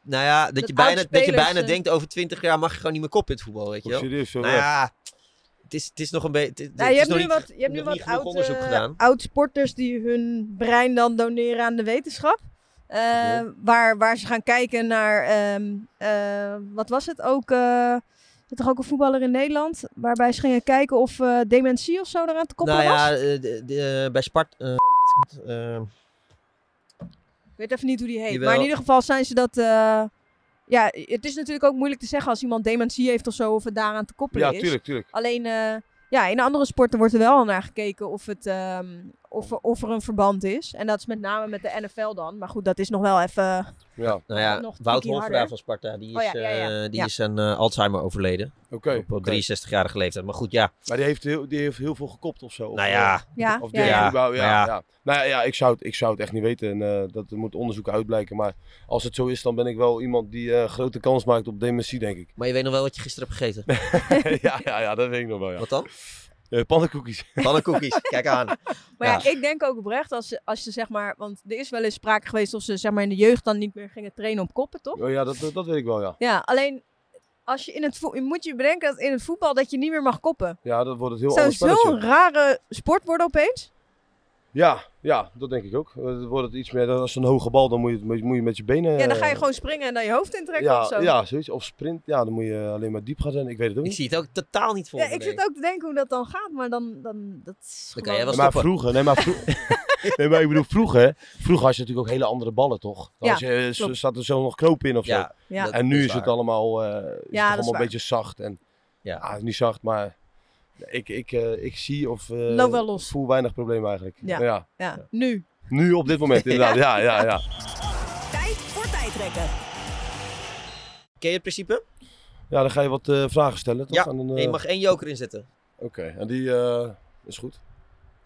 Nou ja, dat, Dat je, bijna, dat je oudspelers, bijna eh, denkt over twintig jaar mag je gewoon niet meer kop in het voetbal, weet je wel. Serieus, eh, zo Nou erg. ja, het is, het is nog een beetje. Nou, je hebt nog nu niet, wat, je hebt nu nog wat niet genoeg oud, onderzoek eh, gedaan. oud-sporters die hun brein dan doneren aan de wetenschap. Eh, waar, waar ze gaan kijken naar, ehm, eh, wat was het ook? eh, er is toch ook een voetballer in Nederland? Waarbij ze gingen kijken of eh, dementie of zo eraan te koppelen Nou ja, was. eh, de- de- eh, bij Spart. eh, eh, Ik weet even niet hoe die heet. Jawel. Maar in ieder geval zijn ze dat... eh, ja, het is natuurlijk ook moeilijk te zeggen als iemand dementie heeft of zo, of het daaraan te koppelen Ja, is. tuurlijk, tuurlijk. Alleen eh, ja, in andere sporten wordt er wel naar gekeken of, het, ehm, of, er, of er een verband is. En dat is met name met de NFL dan. Maar goed, dat is nog wel even. Ja, oké. nou ja, Nog een Wout tikkie Hoornverda harder. van Sparta, die is, Oh ja, ja, ja. eh, die Ja. is aan eh, Alzheimer overleden. op oké. op 63-jarige leeftijd. Maar goed, ja. Maar die heeft, heel, die heeft heel veel gekopt of zo. Of, nou ja, Ja, eh, Of die ja, heeft ja. ja. überhaupt- Maar ja. ja, ja. Nou ja, ja, ik, zou het, ik zou het echt niet weten. En eh, dat moet onderzoek uitblijken. Maar als het zo is, dan ben ik wel iemand die eh, grote kans maakt op dementie, denk ik. maar je weet nog wel wat je gisteren hebt gegeten. ja, ja, ja, dat weet ik nog wel, ja. Wat dan? Eh, pannenkoekjes. Pannenkoekjes, kijk aan. Maar ja, ik denk ook oprecht als, ze- als ze zeg maar. Want er is wel eens sprake geweest of ze zeg maar in de jeugd dan niet meer gingen trainen op koppen, toch? Oh, ja, dat, dat, dat weet ik wel, ja. Ja, alleen. Als je in het voet- moet je bedenken dat in het voetbal dat je niet meer mag koppen. Ja, dat wordt het heel Het anders zou spelletje. zo'n rare sport worden opeens. Ja, ja, dat denk ik ook. Eh, Dan wordt het iets meer, dan als een hoge bal, dan moet je, het- moet je, moet je met je benen... Ja, dan ga je eh, gewoon springen en dan je hoofd intrekken ja, of zo. Ja, zoiets. Of sprint, ja, dan moet je alleen maar diep gaan zijn. Ik weet het ook Ik niet. zie het ook totaal niet voor Ja, me, ik nee. zit ook te denken hoe dat dan gaat, maar dan, dan dat is Dan kan jij gewoon- wel maar stoppen. vroeger, nee, maar vroeger... Nee, maar ik bedoel, vroeger, vroeger had je natuurlijk ook hele andere ballen, toch? Dan Ja, had je, eh, zo- klopt. zat er zo nog knoop in of zo. Ja, Ja. dat en nu is is, waar. het allemaal, eh, is het toch dat is allemaal waar. een beetje zacht. En, Ja. ja. niet zacht, maar ik, ik, eh, ik zie of eh, Loop wel los. voel weinig probleem eigenlijk. Ja. ja. Ja, nu. Nu op dit moment, inderdaad. Ja, ja, ja. Tijd voor tijdrekken. Ken je het principe? Ja, dan ga je wat eh, vragen stellen, toch? Ja, Aan een, En eh, je mag één joker inzetten. Oké, en die eh, is goed.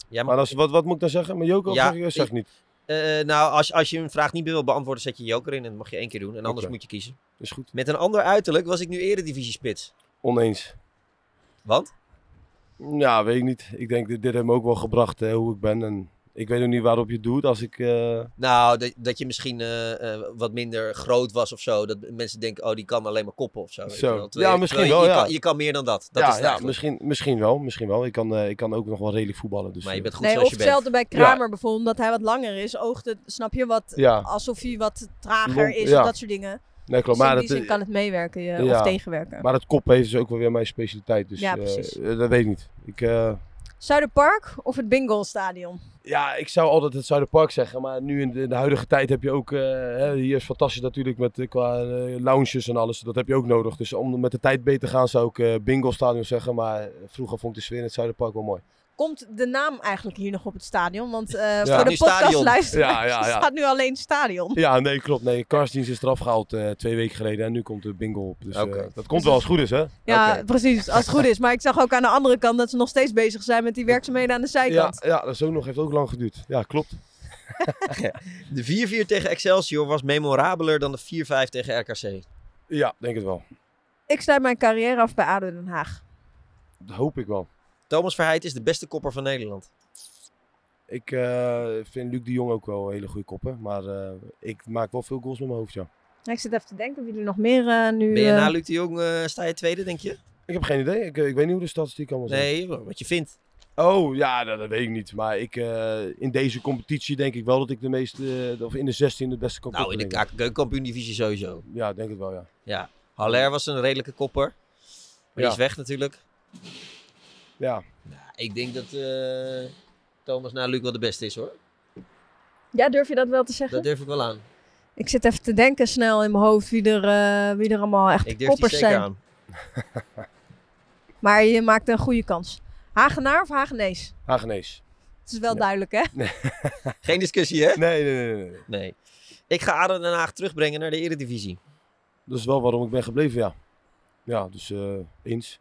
Jij mag, Maar als, wat, wat moet ik dan zeggen? Mijn joker of Ja, zeg ik, zeg ik niet? Eh, nou, als, als je een vraag niet meer wil beantwoorden, zet je een joker in. En dat mag je één keer doen. En anders Oké. moet je kiezen. Is goed. Met een ander uiterlijk was ik nu eredivisiespits. Oneens. Want? Ja, weet ik niet. Ik denk, dit, dit heeft me ook wel gebracht eh, hoe ik ben. En ik weet ook niet waarop je het doet als ik... eh, Nou, dat, dat je misschien eh, eh, wat minder groot was of zo. Dat mensen denken, oh, die kan alleen maar koppen of zo. weet Zo. je wel. Ja, Terwijl je- misschien terwijl je, wel, je ja. Kan, je kan meer dan dat. dat ja, is het ja eigenlijk. misschien, misschien wel. Misschien wel. Ik kan, eh, ik kan ook nog wel redelijk voetballen. Dus, Maar je eh, bent goed Nee, of zoals je bent. hetzelfde bij Kramer bijvoorbeeld, dat hij wat langer is, oogt het, snap je, wat, Ja, alsof hij wat trager Lomp, is, ja. of dat soort dingen. nee, Dus klopt. Maar in die zin dat, kan het meewerken je, ja. of tegenwerken. maar het kop heeft dus ook wel weer mijn specialiteit. Dus Ja, eh, precies. eh, dat weet ik niet. Ik, eh, Zuiderpark of het Bingo Stadion? Ja, ik zou altijd het Zuiderpark zeggen, maar nu in de, in de huidige tijd heb je ook, eh, hè, hier is fantastisch natuurlijk met eh, qua eh, lounges en alles, dat heb je ook nodig. Dus om met de tijd beter te gaan zou ik eh, Bingo Stadion zeggen, maar vroeger vond ik de sfeer in het Zuiderpark wel mooi. Komt de naam eigenlijk hier nog op het stadion? Want eh, Staat voor nu de stadion. podcastluisteraars Ja, ja, ja. staat nu alleen stadion. Ja, nee, klopt. Nee, Karstdienst is eraf gehaald eh, twee weken geleden en nu komt de Bingo op. Dus eh, Oké. dat komt wel als het goed is, hè? Ja, Oké. precies, als het goed is. Maar ik zag ook aan de andere kant dat ze nog steeds bezig zijn met die werkzaamheden aan de Ja, zijkant. ja, dat is ook nog, heeft ook lang geduurd. Ja, klopt. De 4-4 tegen Excelsior was memorabeler dan de 4-5 tegen RKC. Ja, denk het wel. Ik sluit mijn carrière af bij ADO Den Haag. Dat hoop ik wel. Thomas Verheid is de beste kopper van Nederland. Ik eh, vind Luc de Jong ook wel een hele goede koppen, maar eh, ik maak wel veel goals met mijn hoofd, ja. Ik zit even te denken of jullie nog meer eh, nu... Ben je eh, na Luc de Jong, eh, sta je tweede, denk je? Ik heb geen idee. Ik, eh, ik weet niet hoe de statistieken allemaal zijn. Nee, wat je vindt. Oh, ja, dat, dat weet ik niet. Maar ik, eh, in deze competitie denk ik wel dat ik de meeste, eh, of in de 16 de beste kan Nou, in de koppen, denk keukenkampioen-divisie sowieso. ik. Ja, denk het wel, ja. Haller was een redelijke kopper. Maar die Ja. is weg natuurlijk. Ja, Ik denk dat eh, Thomas na Luc wel de beste is hoor. Ja, durf je dat wel te zeggen? Dat durf ik wel aan. Ik zit even te denken snel in mijn hoofd wie er, eh, wie er allemaal echt Ik durf die koppers zeker zijn. aan. Maar je maakt een goede kans. Hagenaar of Hagenees? Hagenees. Het is wel Ja. duidelijk, hè? Geen discussie, hè? Nee, nee, nee, nee, nee. Nee. Ik ga ADO Den Haag terugbrengen naar de Eredivisie. Dat is wel waarom ik ben gebleven, ja. Ja, dus eh eens.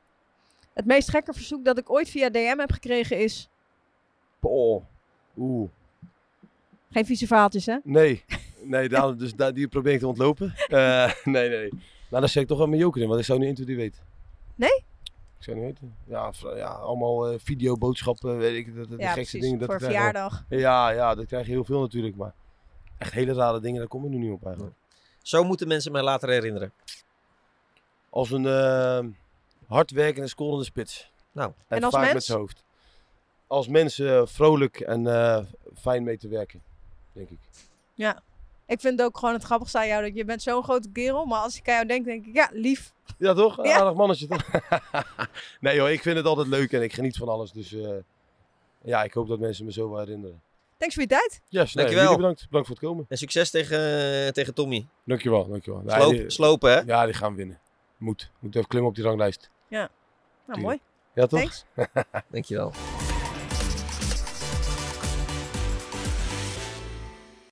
Het meest gekke verzoek dat ik ooit via DM heb gekregen is... Poh. Oeh. Geen vieze verhaaltjes, hè? Nee. Nee, daar, dus, daar, die probeer ik te ontlopen. Eh, nee, nee. Nou, daar zet ik toch wel mijn joker in, want ik zou niet 1, 2, 3 weten. Nee? Ik zou niet weten. Ja, vra- ja allemaal eh videoboodschappen, weet ik, dat, dat, de gekste dingen. Dat Voor ik krijg wel. verjaardag. Ja, ja, dat krijg je heel veel natuurlijk, maar echt hele rare dingen, daar kom ik nu niet op eigenlijk. Zo moeten mensen mij later herinneren. Als een eh hardwerkende, scorende spits. Nou. En, En als vaak met mens? zijn hoofd. Als mensen vrolijk en eh, fijn mee te werken, denk ik. Ik vind het ook gewoon het grappigste aan jou dat je bent zo'n grote kerel. Maar als ik aan jou denk, denk ik, ja, lief. Ja, toch? Een Ja. Aardig mannetje, toch? nee joh, ik vind het altijd leuk en ik geniet van alles. Dus eh, ja, ik hoop dat mensen me zo wel herinneren. Thanks voor je tijd. Yes, nee, Dankjewel. jullie bedankt. Bedankt voor het komen. En succes tegen, eh, tegen Tommy. Dankjewel, dankjewel. Nee, Sloop, die- Slopen, hè? ja, die gaan we winnen. Moet. Moet even klimmen op die ranglijst. Nou, mooi. Ja, toch? Thanks. Dankjewel.